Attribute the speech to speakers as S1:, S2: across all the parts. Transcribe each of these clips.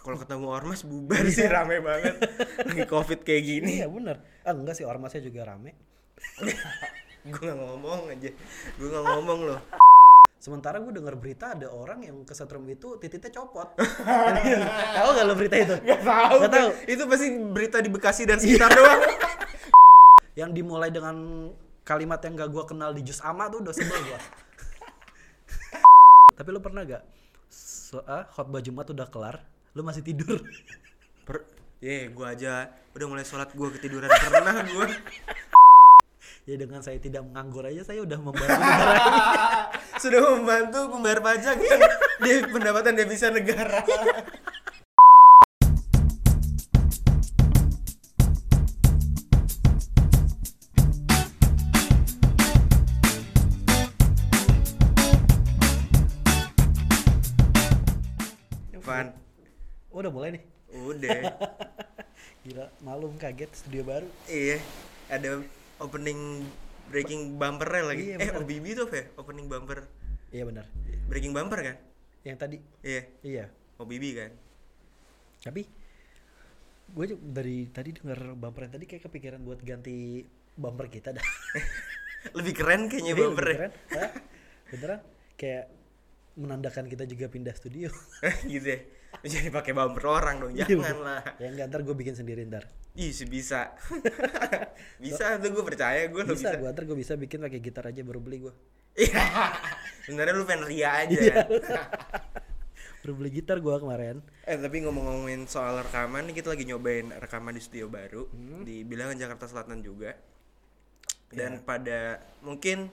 S1: kalau ketemu ormas bubar sih rame banget lagi covid kayak gini
S2: Iya bener. Ah enggak sih ormasnya juga rame.
S1: gue nggak ngomong aja gue nggak ngomong loh
S2: Sementara gue dengar berita ada orang yang kesetrum itu titiknya copot. tahu gak lo berita itu?
S1: Gak tahu.
S2: Gak tahu.
S1: Itu pasti berita di Bekasi dan sekitar doang.
S2: Yang dimulai dengan kalimat yang gak gue kenal di jus ama tuh udah sebel gue. Tapi lo pernah gak? So, ah, khotbah Jumat udah kelar, lo masih tidur.
S1: Per Ye, gua aja udah mulai sholat gua ketiduran pernah gua.
S2: ya dengan saya tidak menganggur aja saya udah membantu negara ini.
S1: Sudah membantu membayar pajak dan di pendapatan devisa negara. Van,
S2: Udah mulai nih.
S1: udah.
S2: Gila, malum kaget studio baru.
S1: Iya, ada opening breaking bumpernya lagi.
S2: Iya,
S1: eh,
S2: bener.
S1: OBB itu apa ya? Opening bumper.
S2: Iya benar.
S1: Breaking bumper kan?
S2: Yang tadi.
S1: Iya,
S2: Iya.
S1: OBB kan.
S2: Tapi gue dari tadi dengar bumper yang tadi kayak kepikiran buat ganti bumper kita dah.
S1: Lebih keren kayaknya
S2: Iya,
S1: bumpernya.
S2: beneran. Hah? Beneran? Kayak menandakan kita juga pindah studio.
S1: gitu ya. Jadi pakai bumper orang dong,
S2: Iya,
S1: jangan
S2: bener.
S1: lah.
S2: Ya enggak ntar gue bikin sendiri ntar.
S1: Ih, bisa. bisa tuh gue percaya gue lo
S2: Bisa,
S1: bisa.
S2: gue ntar gue bisa bikin pakai gitar aja baru beli gue.
S1: Iya. Sebenarnya lu pengen ria aja.
S2: Iya. Baru beli gitar gue kemarin.
S1: eh tapi ngomong-ngomongin soal rekaman nih kita lagi nyobain rekaman di studio baru
S2: Hmm.
S1: di Bilangan Jakarta Selatan juga.
S2: Iya.
S1: Dan pada mungkin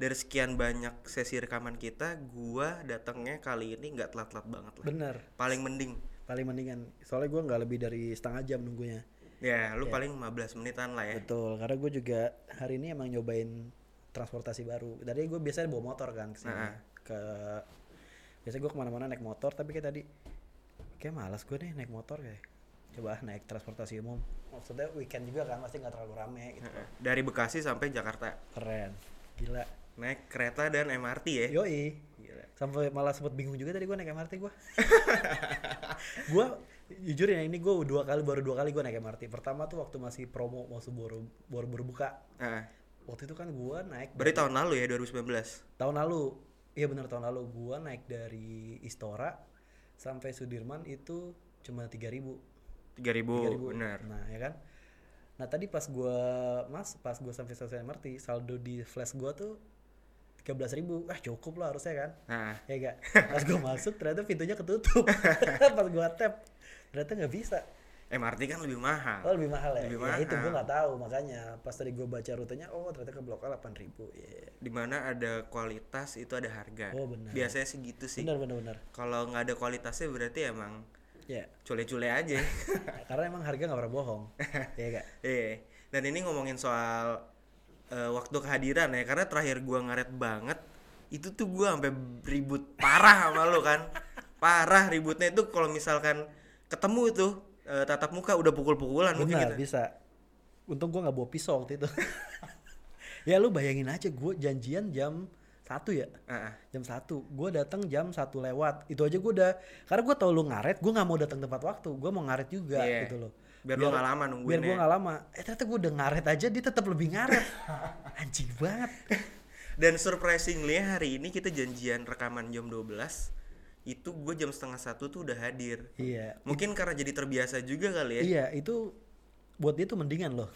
S1: dari sekian banyak sesi rekaman kita, gua datangnya kali ini nggak telat-telat banget lah.
S2: Bener.
S1: Paling mending.
S2: Paling mendingan. Soalnya gue nggak lebih dari setengah jam nunggunya.
S1: Ya,
S2: Iya.
S1: lu paling 15 menitan lah ya.
S2: Betul, karena gue juga hari ini emang nyobain transportasi baru. Tadi gue biasanya bawa motor kan kesini. ke biasanya gue kemana-mana naik motor, tapi kayak tadi kayak malas gue nih naik motor kayak coba ah naik transportasi umum. Maksudnya weekend juga kan pasti nggak terlalu rame gitu.
S1: Heeh. Dari Bekasi sampai Jakarta.
S2: Keren, gila.
S1: naik kereta dan MRT ya.
S2: Yoi,
S1: Gila.
S2: sampai malah sempet bingung juga tadi gue naik MRT gue. gue jujur ya ini gue dua kali baru dua kali gue naik MRT. Pertama tuh waktu masih promo mau baru baru baru buka.
S1: Ah,
S2: Waktu itu kan gue naik
S1: berarti tahun lalu ya 2019.
S2: tahun lalu iya bener tahun lalu gua naik dari Istora sampai Sudirman itu cuma 3000
S1: 3000 Oh, benar.
S2: nah ya kan nah tadi pas gua mas pas gua sampai stasiun MRT saldo di flash gua tuh 13.000 ah cukup lah harusnya kan
S1: Nah,
S2: ya enggak pas gua masuk ternyata pintunya ketutup pas gua tap ternyata nggak bisa
S1: MRT kan lebih mahal.
S2: Oh lebih mahal ya?
S1: Lebih
S2: Ya,
S1: mahal.
S2: itu gua nggak tahu makanya pas tadi gua baca rutenya oh ternyata ke Blok A 8.000 Iya.
S1: Dimana ada kualitas itu ada harga.
S2: Oh, benar.
S1: Biasanya segitu sih.
S2: bener bener bener
S1: Kalau nggak ada kualitasnya berarti emang
S2: ya
S1: cule-cule aja.
S2: karena emang harga nggak pernah bohong ya gak
S1: Iya. Dan ini ngomongin soal eh, waktu kehadiran ya karena terakhir gua ngaret banget itu tuh gua sampai ribut parah sama lo kan. Parah ributnya itu kalau misalkan ketemu tuh eh, tatap muka udah pukul-pukulan mungkin gitu.
S2: benar
S1: kita.
S2: bisa untung gua nggak bawa pisau waktu itu ya lu bayangin aja gue janjian jam satu ya
S1: Ah, ah.
S2: jam satu gue datang jam satu lewat itu aja gue udah karena gue tau lu ngaret gue nggak mau datang tempat waktu gue mau ngaret juga
S1: Iya.
S2: gitu loh
S1: Biar lu nggak lama nungguin
S2: biar gue
S1: ya.
S2: nggak lama eh ternyata gue udah ngaret aja dia tetap lebih ngaret anjing banget
S1: Dan surprisingly hari ini kita janjian rekaman jam 12 Itu gue jam setengah satu tuh udah hadir
S2: iya
S1: Mungkin karena jadi terbiasa juga kali ya
S2: iya itu buat dia tuh mendingan loh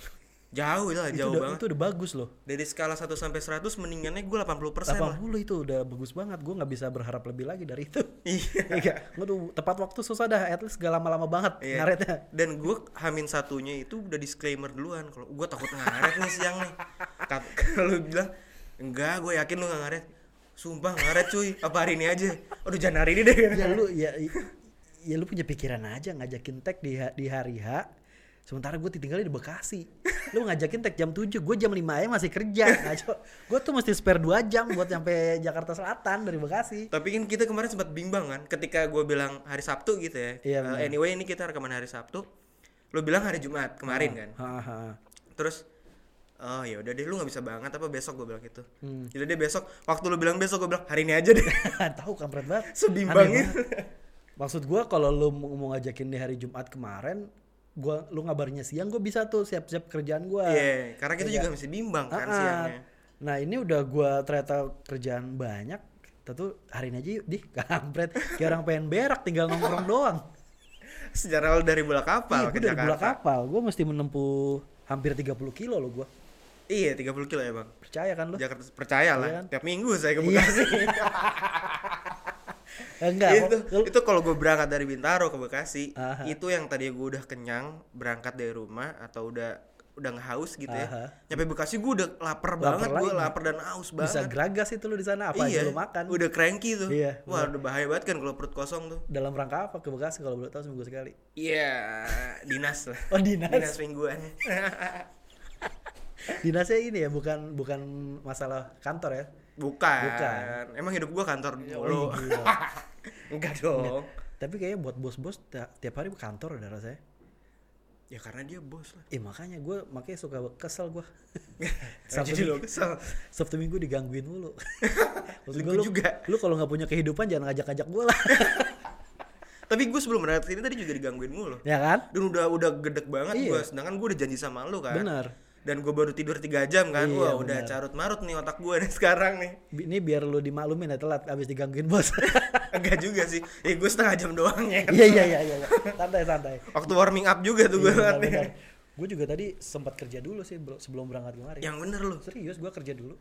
S1: Jauh lah,
S2: itu
S1: jauh
S2: udah,
S1: banget
S2: itu udah bagus loh
S1: Dari skala 1 sampai 100 mendingannya gue 80% lah
S2: 80 itu udah bagus banget gue nggak bisa berharap lebih lagi dari itu
S1: Iya
S2: Iya, gue tuh tepat waktu susah dah, at least gak lama-lama banget
S1: Iya.
S2: ngaretnya.
S1: Dan gue hamin satunya itu udah disclaimer duluan kalau gue takut ngaret nih siang nih Kap- Kalau lu bilang, enggak gue yakin lu gak ngaret Sumpah ngaret cuy, apa hari ini aja Aduh jangan hari ini deh
S2: Ya lu ya i- ya lu punya pikiran aja ngajakin tag di ha- di hari H. Sementara gue ditinggalin di Bekasi. Lu ngajakin tag jam 7, gue jam 5 aja masih kerja. Ngaco. Gue tuh mesti spare 2 jam buat nyampe Jakarta Selatan dari Bekasi.
S1: Tapi kan kita kemarin sempat bimbang kan ketika gue bilang hari Sabtu gitu ya.
S2: Iya,
S1: Eh,
S2: benar.
S1: anyway ini kita rekaman hari Sabtu. Lo bilang hari Jumat kemarin
S2: Ah.
S1: kan.
S2: Haha.
S1: Terus oh ya udah deh lu nggak bisa banget apa besok gue bilang gitu.
S2: Hmm.
S1: Jadi deh besok waktu lu bilang besok gue bilang hari ini aja deh.
S2: Tahu kampret banget.
S1: Sebimbang
S2: Aneh
S1: itu.
S2: banget. Maksud gua kalau lu mau mau ngajakin di hari Jumat kemarin, gua lu ngabarnya siang gua bisa tuh siap-siap kerjaan gua.
S1: Iya, karena kita juga masih bimbang kan
S2: Ah-ah.
S1: siangnya.
S2: Nah, ini udah gua ternyata kerjaan banyak. Kita tuh hari ini aja yuk, dih, kampret. Kayak orang pengen berak tinggal nongkrong doang.
S1: Sejarah lo dari bola
S2: Iya,
S1: kapal
S2: gua
S1: ke
S2: dari bola
S1: Jakarta.
S2: kapal. Gua mesti menempuh hampir 30 kilo loh gua.
S1: Iya, 30 kilo ya, Bang.
S2: Percaya kan lu?
S1: Jakarta percaya lah.
S2: Iya kan?
S1: Tiap minggu saya ke Bekasi.
S2: Eh, enggak.
S1: itu
S2: lu-
S1: itu kalau gue berangkat dari Bintaro ke Bekasi,
S2: Aha.
S1: itu yang tadi gue udah kenyang berangkat dari rumah atau udah udah ngehaus gitu ya.
S2: Aha.
S1: Nyampe Bekasi gue udah lapar, banget, gue
S2: lagi.
S1: lapar dan haus
S2: bisa
S1: banget. Iya,
S2: geragas itu lu di sana apa aja lu makan.
S1: Udah cranky tuh.
S2: Iya,
S1: Wah, udah bahaya banget kan kalau perut kosong tuh.
S2: Dalam rangka apa ke Bekasi kalau boleh tahu seminggu sekali?
S1: Iya, dinas lah.
S2: Oh, dinas.
S1: Dinas mingguan.
S2: Dinasnya ini ya, bukan bukan masalah kantor ya.
S1: Bukan.
S2: Bukan.
S1: Emang hidup gua kantor mulu.
S2: Ih, gila.
S1: Enggak dong.
S2: Tapi kayaknya buat bos-bos ta- tiap hari ke kantor udah rasanya.
S1: Ya karena dia bos lah.
S2: Eh makanya gue makanya suka kesel gue.
S1: Jadi
S2: Sabtu,
S1: lo kesel.
S2: Sabtu minggu digangguin mulu. Maksud gua,
S1: Lu
S2: lu,
S1: juga.
S2: lu kalau nggak punya kehidupan jangan ngajak-ngajak gue lah.
S1: Tapi gue sebelum berangkat sini tadi juga digangguin mulu.
S2: ya kan?
S1: Dan udah udah gedek banget
S2: Iya.
S1: gua sedangkan gua udah janji sama lu kan.
S2: Bener.
S1: Dan gue baru tidur 3 jam kan.
S2: Iya,
S1: Wah, udah
S2: bener.
S1: carut marut nih otak gua nih sekarang nih.
S2: Bi- Ini biar lu dimaklumin ya telat abis digangguin bos.
S1: Enggak juga sih. Ya gue setengah jam doang ya.
S2: Iya iya iya iya. iya. Santai santai. Iya,
S1: Waktu warming up juga tuh gue
S2: Gue juga tadi sempat kerja dulu sih bro- sebelum berangkat kemarin.
S1: Yang bener lu.
S2: Serius gue kerja dulu.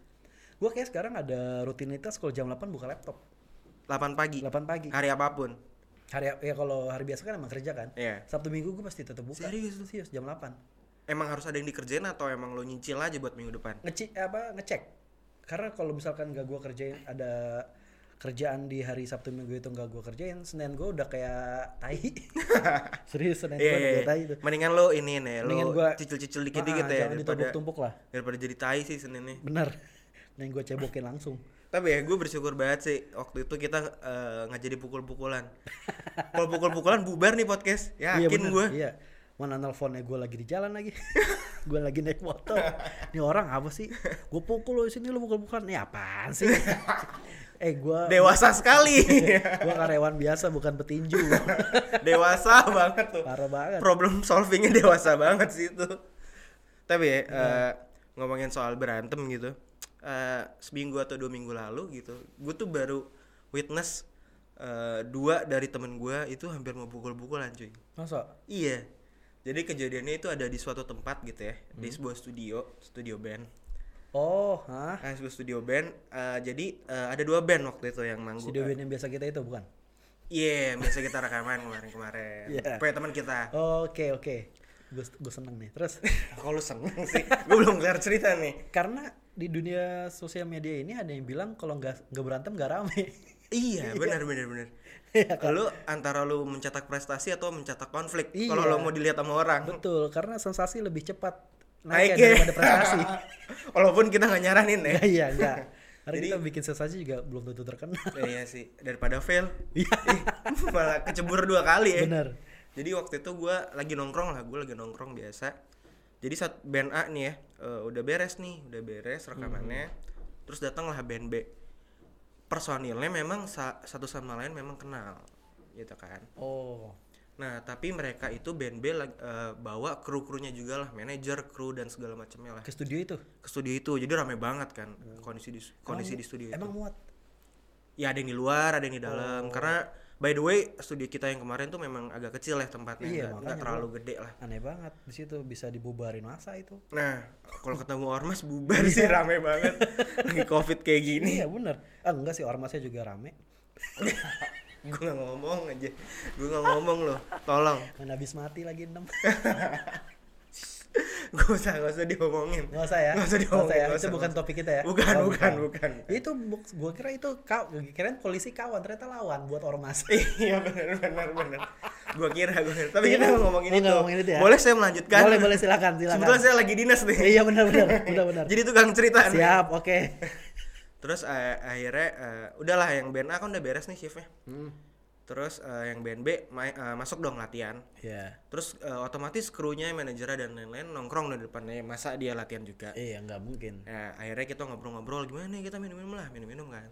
S2: Gue kayak sekarang ada rutinitas kalau jam 8 buka laptop.
S1: 8 pagi.
S2: 8 pagi.
S1: Hari apapun.
S2: Hari ya kalau hari biasa kan emang kerja kan.
S1: Iya.
S2: Sabtu Minggu gue pasti tetap buka.
S1: Serius lu?
S2: Serius jam 8.
S1: Emang harus ada yang dikerjain atau emang lo nyicil aja buat minggu depan?
S2: ngecek apa ngecek karena kalau misalkan gak gua kerjain ada kerjaan di hari Sabtu Minggu itu gak gua kerjain Senin gua udah kayak tai serius Senin
S1: Iya,
S2: gua udah
S1: iya,
S2: kayak tai
S1: iya.
S2: itu
S1: Mendingan lo ini nih,
S2: Mendingan
S1: lo
S2: gua- Ah,
S1: cicil-cicil dikit-dikit ya
S2: jangan
S1: daripada
S2: ditumpuk-tumpuk lah
S1: daripada jadi tai sih seninnya.
S2: bener dan gua cebokin langsung
S1: Tapi ya gue bersyukur banget sih waktu itu kita eh, nggak jadi pukul-pukulan. Kalau pukul-pukulan bubar nih podcast. Yakin
S2: bener,
S1: gue.
S2: iya mana nelponnya gua lagi di jalan lagi gua lagi naik motor ini orang apa sih gua pukul lo sini lo pukul-pukulan ini apaan sih eh gua
S1: Dewasa sekali.
S2: gua karyawan biasa bukan petinju
S1: dewasa banget tuh.
S2: parah banget
S1: Problem solvingnya dewasa banget sih itu. Tapi ya
S2: Iya.
S1: eh, ngomongin soal berantem gitu. eh, seminggu atau dua minggu lalu gitu, gue tuh baru witness eh, dua dari temen gue itu hampir mau pukul-pukulan cuy.
S2: masa
S1: Iya. Jadi kejadiannya itu ada di suatu tempat gitu ya, di
S2: Hmm.
S1: sebuah studio, studio band.
S2: oh hah
S1: Ah, sebuah studio band. eh, jadi eh, ada dua band waktu itu yang manggung.
S2: Studio band yang biasa kita itu bukan?
S1: Iya, yang biasa kita rekaman kemarin-kemarin.
S2: Iya.
S1: Punya teman kita.
S2: Oke oke, gue seneng nih. Terus
S1: Kalau seneng sih, gue belum kelar cerita nih.
S2: karena di dunia sosial media ini ada yang bilang kalau nggak nggak berantem nggak rame.
S1: Iya, benar benar benar.
S2: Iya,
S1: Lu antara lu mencetak prestasi atau mencetak konflik.
S2: Iya.
S1: Kalau lu mau dilihat sama orang.
S2: Betul, karena sensasi lebih cepat
S1: Naiknya.
S2: naik ya daripada prestasi.
S1: Walaupun kita nggak nyaranin ya.
S2: Iya iya enggak. Karena
S1: Jadi-
S2: kita bikin sensasi juga belum tentu terkenal.
S1: Eh, iya sih, daripada fail.
S2: Iya.
S1: Ih, malah kecebur dua kali ya.
S2: Bener.
S1: Jadi waktu itu gua lagi nongkrong lah, gua lagi nongkrong biasa. Jadi saat band A nih ya, eh, udah beres nih, udah beres rekamannya.
S2: Hmm.
S1: Terus datanglah band B. Personilnya memang sa- satu sama lain memang kenal, gitu kan.
S2: Oh,
S1: Nah tapi mereka itu band B lag- eh, bawa kru krunya juga lah, manajer kru dan segala macamnya lah
S2: ke studio itu.
S1: ke studio itu. Jadi rame banget kan kondisi di kondisi di studio itu.
S2: Hmm. Emang Oh. muat.
S1: Ya ada yang di luar, ada yang di dalam. Karena by the way studio kita yang kemarin tuh memang agak kecil ya tempatnya, nggak-
S2: Iya,
S1: nggak
S2: makanya
S1: terlalu gede lah.
S2: Ah, Aneh banget di situ bisa dibubarin masa itu.
S1: Nah, kalau ketemu ormas bubar sih rame banget. Lagi covid kayak gini,
S2: Iya bener. Ah enggak sih ormasnya juga rame.
S1: gue nggak ngomong aja, gue nggak ngomong loh, tolong.
S2: Dan habis mati lagi enam.
S1: Gue usah nggak usah diomongin.
S2: Nggak usah ya.
S1: Nggak usah
S2: Nggak usah
S1: diomongin.
S2: ya.
S1: nggak
S2: Itu
S1: usah, nggak
S2: bukan
S1: usah.
S2: topik kita ya.
S1: Bukan,
S2: Oh,
S1: bukan, bukan.
S2: Itu gue kira itu kau kirain polisi kawan ternyata lawan buat ormas.
S1: Iya benar benar benar. Gua kira gua kira. Tapi
S2: Iya.
S1: kita ngomongin
S2: Oh,
S1: itu.
S2: nggak ngomongin itu ya?
S1: Boleh saya melanjutkan?
S2: Boleh, boleh, silakan, silakan.
S1: Kebetulan Kan? saya lagi dinas nih.
S2: Iya benar benar benar benar.
S1: Jadi tukang cerita nih.
S2: Siap, oke.
S1: Terus eh, akhirnya eh, udahlah yang band A kan udah beres nih shiftnya. Terus eh, yang band B mai- eh, masuk dong latihan.
S2: Iya.
S1: Terus eh, otomatis krunya, manajernya dan lain-lain nongkrong di depannya. Masa dia latihan juga? Ya,
S2: Iya nggak mungkin.
S1: Nah, akhirnya kita ngobrol-ngobrol gimana nih kita minum-minum lah, minum-minum kan.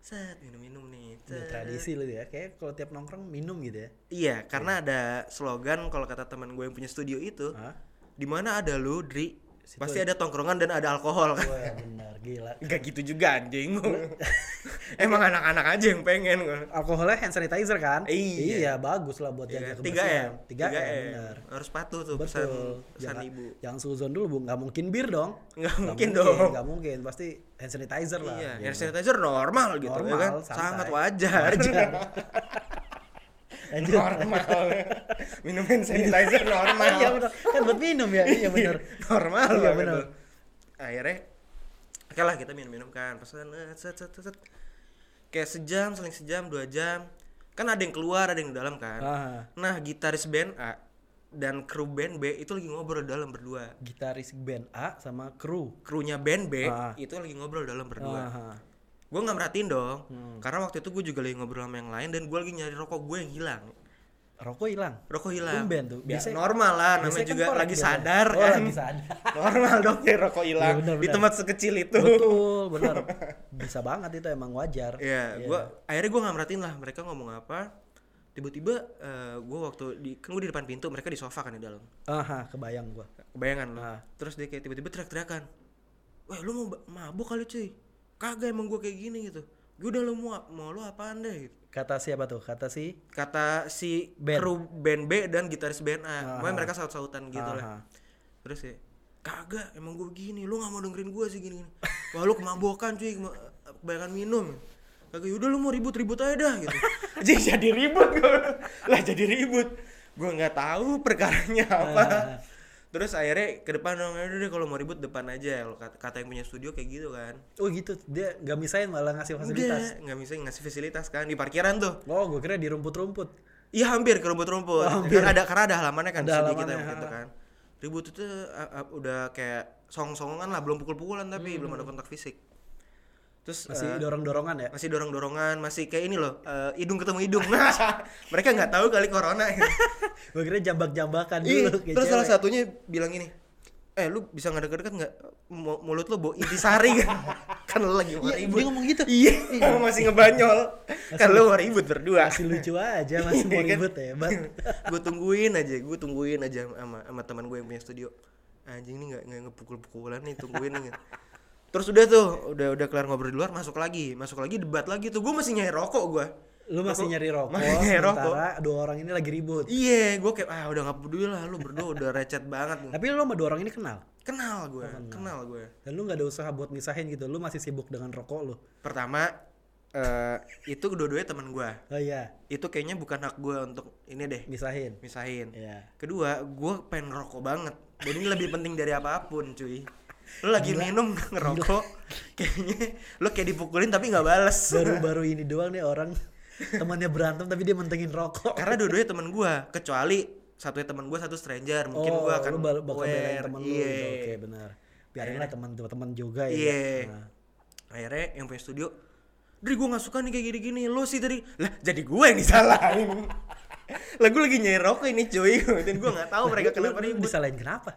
S1: set minum-minum nih
S2: Udah
S1: set.
S2: tradisi lu ya. Kayak kalau tiap nongkrong minum gitu ya.
S1: iya karena ada slogan kalau kata teman gue yang punya studio itu
S2: Hah?
S1: di mana ada lu dri
S2: Situ
S1: pasti ada tongkrongan dan ada alkohol kan
S2: Wah, benar gila.
S1: Gak gitu juga anjing emang anak-anak aja yang pengen gua.
S2: Alkoholnya hand sanitizer kan?
S1: Iya.
S2: bagus lah buat
S1: Iya,
S2: jaga
S1: tiga
S2: kebersihan.
S1: m
S2: 3M,
S1: M.
S2: benar.
S1: harus patuh tuh pesan
S2: Betul.
S1: pesan ibu
S2: Jangan suzon dulu, Bu. Nggak mungkin bir dong.
S1: nggak mungkin dong
S2: Nggak mungkin, pasti hand sanitizer lah.
S1: iya
S2: gitu.
S1: hand sanitizer normal gitu ya
S2: Normal,
S1: kan
S2: santai.
S1: sangat wajar
S2: Wajar. Lanjut.
S1: normal minum hand sanitizer normal
S2: Iya benar. Kan buat minum ya. Iya benar.
S1: normal
S2: Iya,
S1: banget
S2: benar.
S1: tuh. akhirnya oke lah kita minum-minum kan pesan eh, set, set, set, set. kayak sejam seling sejam dua jam kan ada yang keluar ada yang di dalam kan
S2: Ah,
S1: nah gitaris band A dan kru band B itu lagi ngobrol dalam berdua
S2: gitaris band A sama kru.
S1: krunya band B
S2: Ah.
S1: itu lagi ngobrol dalam berdua
S2: Ah,
S1: gue nggak merhatiin dong
S2: Hmm.
S1: karena waktu itu gue juga lagi ngobrol sama yang lain dan gue lagi nyari rokok gue yang hilang
S2: rokok hilang.
S1: rokok hilang
S2: Tumben tuh.
S1: Biasa
S2: Biasanya-
S1: normal lah namanya
S2: Biasanya kan
S1: juga
S2: korek
S1: lagi
S2: biasanya.
S1: sadar
S2: Oh,
S1: kan
S2: lagi sadar.
S1: normal dong ya rokok hilang
S2: Iya, benar,
S1: di
S2: benar.
S1: tempat sekecil itu
S2: Betul, benar. Bisa banget itu emang wajar.
S1: ya
S2: Iya.
S1: gua akhirnya gue nggak merhatiin lah mereka ngomong apa tiba-tiba gue waktu di kan gue di depan pintu mereka di sofa kan di dalam
S2: Aha, kebayang gua.
S1: kebayangan lo
S2: Ah.
S1: terus dia kayak tiba-tiba teriak-teriakan weh lu mau ba- mabuk kali cuy kagak emang gue kayak gini gitu gue udah lu mau mau lu apaan deh gitu.
S2: Kata siapa tuh? Kata si
S1: kata si
S2: Band.
S1: kru band B dan gitaris band A Pokoknya mereka saut-sautan gitu
S2: Aha.
S1: lah terus ya kagak emang gue begini lu gak mau dengerin gue sih gini gini wah lu kemabokan cuy kema- kebanyakan minum kagak yaudah lu mau ribut-ribut aja dah gitu jadi jadi ribut gue lah jadi ribut gue nggak tahu perkaranya apa Nah. terus akhirnya ke depan dong udah deh kalau mau ribut depan aja Kalau kata, kata yang punya studio kayak gitu kan
S2: Oh gitu, dia nggak misain malah ngasih fasilitas.
S1: Enggak, nggak bisa ngasih fasilitas kan di parkiran tuh
S2: Oh, gue kira di rumput-rumput.
S1: Iya hampir ke rumput-rumput.
S2: Oh,
S1: Karena ada karena ada halamannya kan
S2: Ada
S1: sedikit
S2: halamannya,
S1: gitu kan. Ribut itu uh, uh, udah kayak song-songan lah, belum pukul-pukulan tapi belum ada kontak fisik. Terus
S2: Hmm. Masih
S1: masih
S2: dorong-dorongan ya?
S1: masih dorong-dorongan, masih kayak ini loh, uh, hidung ketemu hidung. Mereka nggak tahu kali corona.
S2: Gue kira jambak-jambakan
S1: Ih,
S2: dulu kayak
S1: terus salah
S2: cewek.
S1: satunya bilang ini, eh lu bisa nggak deket-deket nggak Mu- mulut lu bau intisari kan? kan lu lagi mau
S2: Iya,
S1: ribut.
S2: dia ngomong gitu.
S1: Iya, masih ngebanyol. kan lu mau ribut berdua.
S2: Masih lucu aja, masih
S1: Iya
S2: mau
S1: kan?
S2: ribut ya, Bang.
S1: gue tungguin aja gue tungguin aja sama sama teman gue yang punya studio anjing nih nggak nggak ngepukul-pukulan nih tungguin nih terus udah tuh udah udah kelar ngobrol di luar masuk lagi masuk lagi debat lagi tuh gue masih nyari rokok gue
S2: Lu masih nyari rokok,
S1: masih nyari rokok
S2: sementara dua orang ini lagi ribut.
S1: iya gue kayak ah udah nggak peduli lah lu berdua udah recet banget nih.
S2: Tapi lu sama dua orang ini kenal.
S1: kenal gue kenal gue
S2: Dan lu nggak ada usaha buat misahin gitu. Lu masih sibuk dengan rokok lu.
S1: pertama eh itu dua-duanya teman gue
S2: Oh iya,
S1: itu kayaknya bukan hak gue untuk ini deh
S2: misahin.
S1: misahin
S2: Iya.
S1: Kedua, gue pengen ngerokok banget. Dan ini lebih penting dari apapun, cuy. Lu lagi minum ngerokok, kayaknya lu kayak dipukulin tapi nggak bales.
S2: Baru-baru ini doang nih orang temannya berantem tapi dia mentengin rokok.
S1: Karena dua-duanya temen gue, kecuali satunya temen gue satu stranger, mungkin
S2: oh,
S1: gue akan
S2: lu baru bakal belain
S1: aware.
S2: temen lu
S1: Iya.
S2: gitu. Oke, benar. Biarin lah teman teman juga ya.
S1: Iya.
S2: Nah,
S1: Akhirnya yang punya studio, Dri gue gak suka nih kayak gini-gini, lu sih tadi, lah jadi gue yang disalahin. lah gue lagi nyari rokok ini cuy, dan gue gak tahu mereka
S2: Lu- lu-
S1: kenapa
S2: lu
S1: ribut.
S2: Disalahin kenapa?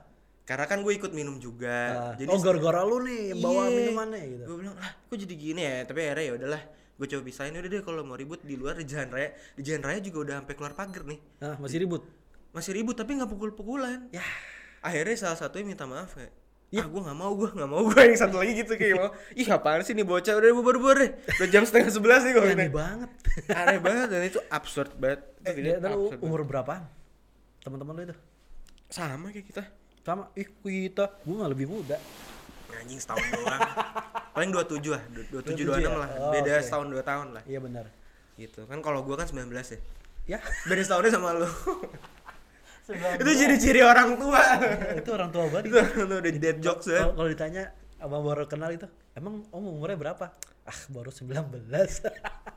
S1: Karena kan gue ikut minum juga.
S2: Ah, oh, gara-gara lu nih yang bawa minumannya gitu.
S1: Gue Iya. bilang, "Lah, kok jadi gini ya?" Tapi akhirnya ya udahlah, gue coba pisahin udah deh kalau mau ribut di luar di jalan raya. Di jalan raya juga udah sampai keluar pagar nih.
S2: Nah, masih ribut.
S1: Masih ribut tapi nggak pukul-pukulan.
S2: Ya.
S1: Akhirnya salah satunya minta maaf kayak
S2: Iya.
S1: Ya, ah, gue nggak mau, gue nggak mau, gue yang satu lagi gitu kayak mau, ih apaan sih nih bocah udah bubar-bubar deh, udah jam setengah sebelas nih gue
S2: Aneh banget.
S1: aneh banget dan itu absurd banget, itu
S2: Eh,
S1: video
S2: dia
S1: absurd
S2: dulu
S1: banget.
S2: umur berapaan? Teman-teman lu itu?
S1: sama kayak kita,
S2: Sama ih kita, gua mah lebih muda.
S1: anjing setahun doang, paling dua tujuh lah, dua tujuh dua
S2: 27 ya?
S1: enam lah,
S2: Oh,
S1: beda
S2: oke.
S1: setahun dua tahun lah.
S2: Iya benar.
S1: gitu kan kalau gua kan 19 ya
S2: Ya,
S1: beda setahunnya sama lu itu ciri-ciri orang tua
S2: itu orang tua banget.
S1: itu orang tua udah dead jokes ya
S2: Kalau kalau ditanya abang baru kenal itu, emang om umurnya berapa? Ah, baru 19.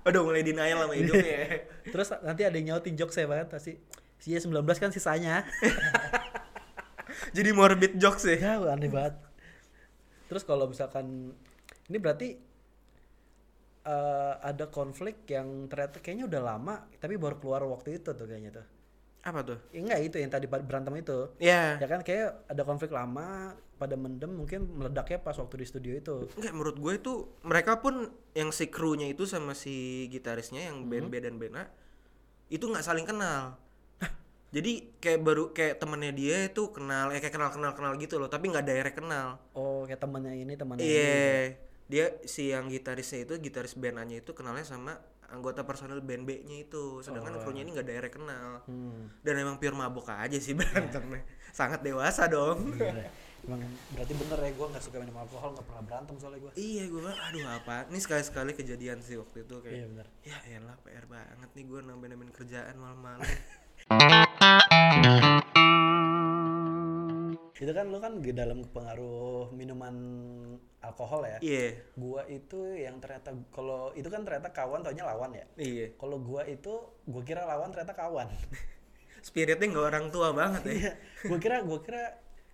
S1: udah mulai denial sama ya. hidupnya
S2: Terus nanti ada yang nyautin jokes saya banget pasti. Si 19 kan sisanya.
S1: jadi morbid jokes ya
S2: ya aneh banget. Terus kalau misalkan ini berarti eh, ada konflik yang ternyata kayaknya udah lama tapi baru keluar waktu itu tuh kayaknya tuh.
S1: apa tuh
S2: Ya, enggak itu yang tadi pa- berantem itu.
S1: ya
S2: Ya kan kayak ada konflik lama pada mendem mungkin meledaknya pas waktu di studio itu.
S1: Enggak, menurut gue itu mereka pun yang si krunya itu sama si gitarisnya yang band B dan Bena itu nggak saling kenal. Jadi kayak baru kayak temennya dia itu kenal, eh, kayak kenal kenal kenal gitu loh, tapi nggak direct kenal.
S2: Oh kayak temannya ini temannya
S1: Iya,
S2: ini.
S1: dia si yang gitarisnya itu gitaris bandnya itu kenalnya sama anggota personel band B-nya itu, sedangkan krunya ini nggak direct kenal.
S2: Oh, iya. Hmm.
S1: Dan emang pure mabok aja sih berantemnya, sangat dewasa dong.
S2: Bener ya. Emang berarti bener ya gue nggak suka minum alkohol nggak pernah berantem soalnya gue.
S1: iya, gue bilang, aduh apa? Ini sekali sekali kejadian sih waktu itu kayak.
S2: Iya bener.
S1: ya elah PR banget nih gue nambah-nambahin kerjaan malam-malam
S2: Itu kan lu kan di dalam pengaruh minuman alkohol ya.
S1: iya
S2: Gua itu yang ternyata kalau itu kan ternyata kawan taunya lawan ya.
S1: iya
S2: Kalau gua itu gua kira lawan ternyata kawan.
S1: spiritnya nggak orang tua banget ya
S2: Iya. gua kira gua kira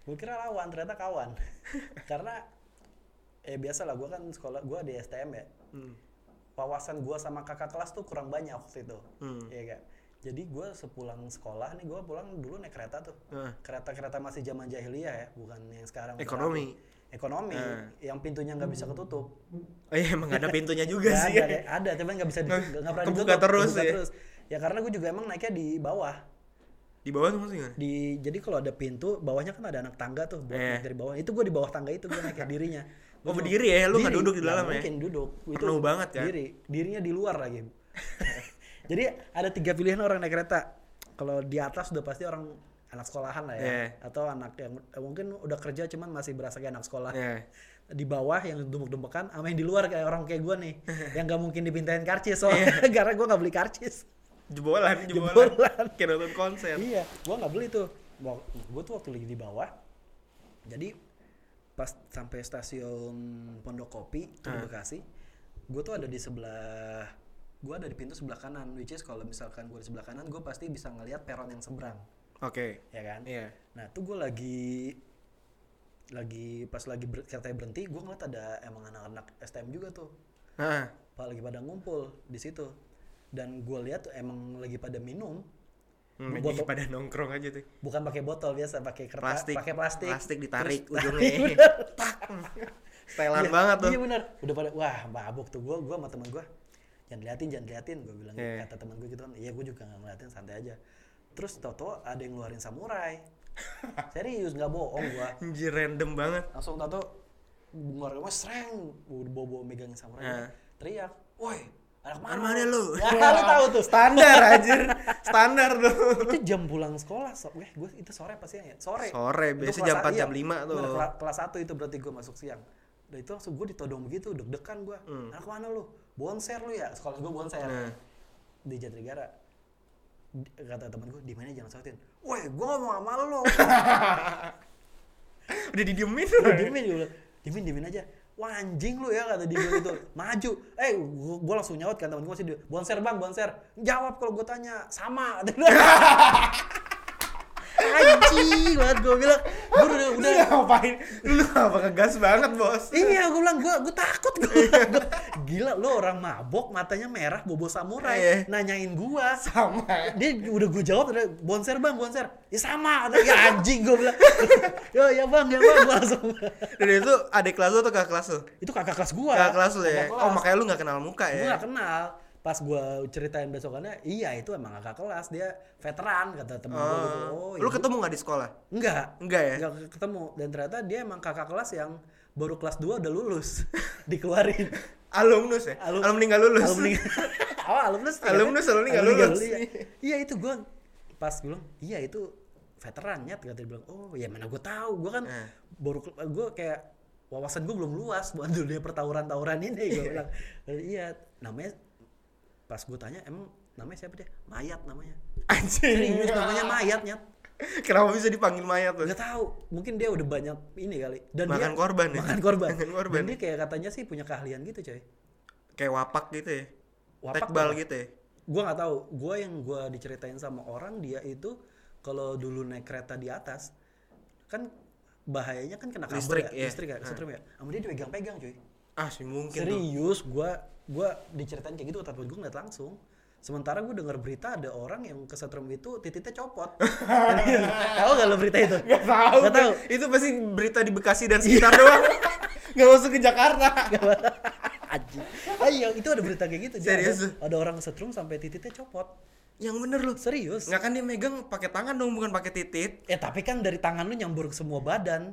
S2: gua kira lawan ternyata kawan. Karena ya biasa lah gua kan sekolah gua di STM ya.
S1: hmm.
S2: Wawasan gua sama kakak kelas tuh kurang banyak waktu itu.
S1: Hmm.
S2: Iya kan? Jadi gua sepulang sekolah nih gua pulang dulu naik kereta tuh.
S1: Nah,
S2: Kereta-kereta masih zaman jahiliyah ya, bukan yang sekarang.
S1: ekonomi
S2: Ekonomi
S1: Ah.
S2: yang pintunya nggak bisa ketutup.
S1: oh iya emang nggak ada pintunya juga
S2: Nggak
S1: sih
S2: ada, ada, ada, cuman nggak bisa di,
S1: Nggak-
S2: nggak pernah
S1: kebuka
S2: ditutup,
S1: terus
S2: kebuka
S1: ya?
S2: Ya karena gue juga emang naiknya di bawah.
S1: di bawah tuh maksudnya gimana?
S2: Di jadi kalau ada pintu, bawahnya kan ada anak tangga tuh buat
S1: Iya. Eh.
S2: naik dari bawah. Itu gue di bawah tangga itu gue naik dirinya. Gua
S1: Oh,
S2: cuma-
S1: berdiri ya? Lu nggak
S2: Diri,
S1: duduk di dalam ya?
S2: Mungkin duduk. Itu
S1: Penuh banget kan?
S2: Diri, dirinya di luar lagi. jadi ada tiga pilihan orang naik kereta. Kalau di atas udah pasti orang anak sekolahan lah ya,
S1: Eh.
S2: atau anak yang eh, mungkin udah kerja cuman masih berasa kayak anak sekolah
S1: ya
S2: di bawah yang dumpuk-dumpukan sama yang di luar kayak orang kayak gue nih yang gak mungkin dipintain
S1: Iya.
S2: karcis soalnya karena gue gak beli karcis
S1: jebolan jebolan,
S2: Jebolan.
S1: kayak nonton konser
S2: iya gue gak beli tuh gue tuh waktu lagi di bawah jadi pas sampai stasiun Pondok Kopi itu
S1: Ah.
S2: di Bekasi gue tuh ada di sebelah gue ada di pintu sebelah kanan which is kalau misalkan gue di sebelah kanan gue pasti bisa ngelihat peron yang seberang
S1: oke
S2: ya kan
S1: iya
S2: Nah, tuh gue lagi lagi pas lagi ber, keretanya berhenti, gue ngeliat ada emang anak-anak STM juga tuh,
S1: nah
S2: pak lagi pada ngumpul di situ. Dan gue lihat emang lagi pada minum,
S1: hmm,
S2: Gua-
S1: jadi pada nongkrong aja tuh
S2: bukan pakai botol biasa, pakai kertas,
S1: plastik
S2: pakai plastik.
S1: ditarik
S2: Terus-
S1: ujungnya Tak. setelan
S2: Iya,
S1: banget tuh
S2: Iya benar. Udah pada wah mabuk tuh gue gue sama teman gue. Jangan liatin, jangan liatin gue bilang
S1: Iya.
S2: kata teman gue gitu kan. Iya gue juga nggak ngeliatin santai aja. Terus tau-tau ada yang ngeluarin samurai. Serius nggak bohong gue.
S1: anjir random banget
S2: langsung tato keluar rumah sereng bawa bawa megang samurai
S1: Nah.
S2: teriak woi anak
S1: mana
S2: mana
S1: mana lu
S2: ya lu tahu tuh
S1: standar anjir standar tuh
S2: itu jam pulang sekolah so eh, gue itu sore apa siang ya sore
S1: Sore,
S2: Itu
S1: biasanya jam
S2: kelas sa-
S1: 4,
S2: iya,
S1: jam 5 tuh.
S2: bener, kela- kelas satu itu berarti gue masuk siang dan itu langsung gue ditodong begitu deg-degan gue anak mana lu bonser lu ya sekolah gue bonser
S1: Hmm. Nah.
S2: di Jatinegara Di- kata temen gue di mana jangan sautin woi gue ngomong sama lu
S1: udah didiemin
S2: Lu diemin gue bilang, diemin diemin aja wah anjing lu ya kata dia bilang gitu maju eh gua, gua langsung nyaut kan temen gua masih dia bonser bang bonser jawab kalau gua tanya sama Kata dia. anjing banget gua bilang gua udah
S1: Lu
S2: udah
S1: ngapain lu apa ngegas banget bos
S2: iya gua bilang gua gua takut gua, bilang. Gua, gila lu orang mabok matanya merah bobo samurai
S1: Iya.
S2: nanyain gua
S1: sama
S2: dia udah gue jawab udah bonser bang bonser ya sama Kata dia, ya anjing gua bilang ya ya bang ya bang gua langsung
S1: dan itu adik kelas lu atau kakak kelas lu
S2: itu kakak kelas gua
S1: kakak kelas lu ya
S2: Kakak
S1: oh
S2: kelas.
S1: makanya lu nggak kenal muka
S2: gue
S1: ya
S2: gak kenal pas gue ceritain besokannya iya itu emang kakak kelas dia veteran kata temen gue gitu oh
S1: Oh, lu
S2: iya.
S1: ketemu nggak di sekolah
S2: enggak
S1: enggak ya
S2: enggak ketemu dan ternyata dia emang kakak kelas yang baru kelas 2 udah lulus dikeluarin
S1: alumnus ya
S2: Alum-
S1: alumni nggak lulus
S2: alumni oh alumnus ternyata.
S1: Alumnus, alumni nggak
S2: nggak
S1: lulus.
S2: iya. iya itu gue pas bilang iya itu veteran nyat kata dia bilang oh ya mana gue tahu gue kan
S1: Eh.
S2: baru gue kayak wawasan gue belum luas buat dunia pertawuran-tawuran ini gue bilang iya namanya pas gue tanya emang namanya siapa dia mayat namanya
S1: anjir
S2: serius namanya mayat nyat
S1: kenapa bisa dipanggil mayat tuh
S2: nggak tahu mungkin dia udah banyak ini kali dan
S1: Makan
S2: dia,
S1: korban ya?
S2: makan korban
S1: Makan korban.
S2: dan dia kayak katanya sih punya keahlian gitu coy
S1: kayak wapak gitu ya
S2: Wapak
S1: tekbal
S2: apa?
S1: gitu ya
S2: gua nggak tahu gua yang gua diceritain sama orang dia itu kalau dulu naik kereta di atas kan bahayanya kan kena kabel
S1: Listrik,
S2: ya
S1: iya. Gitu.
S2: listrik ya listrik ya sama dia dipegang-pegang cuy
S1: ah sih mungkin tuh
S2: serius gua gua diceritain kayak gitu tapi gua ngeliat langsung Sementara gue denger berita ada orang yang kesetrum itu titiknya copot. tahu gak lo berita itu?
S1: Gak tahu.
S2: Gak tahu. Iya.
S1: Itu pasti berita di Bekasi dan sekitar doang. Gak masuk ke Jakarta.
S2: Aji. Ayo, Ah, iya, itu ada berita kayak gitu. Jadi
S1: Serius?
S2: Ada, ada orang kesetrum sampai titiknya copot.
S1: Yang bener loh.
S2: Serius?
S1: Nggak kan dia megang pakai tangan dong bukan pakai titit.
S2: Eh tapi kan dari tangan lu nyambur ke semua badan.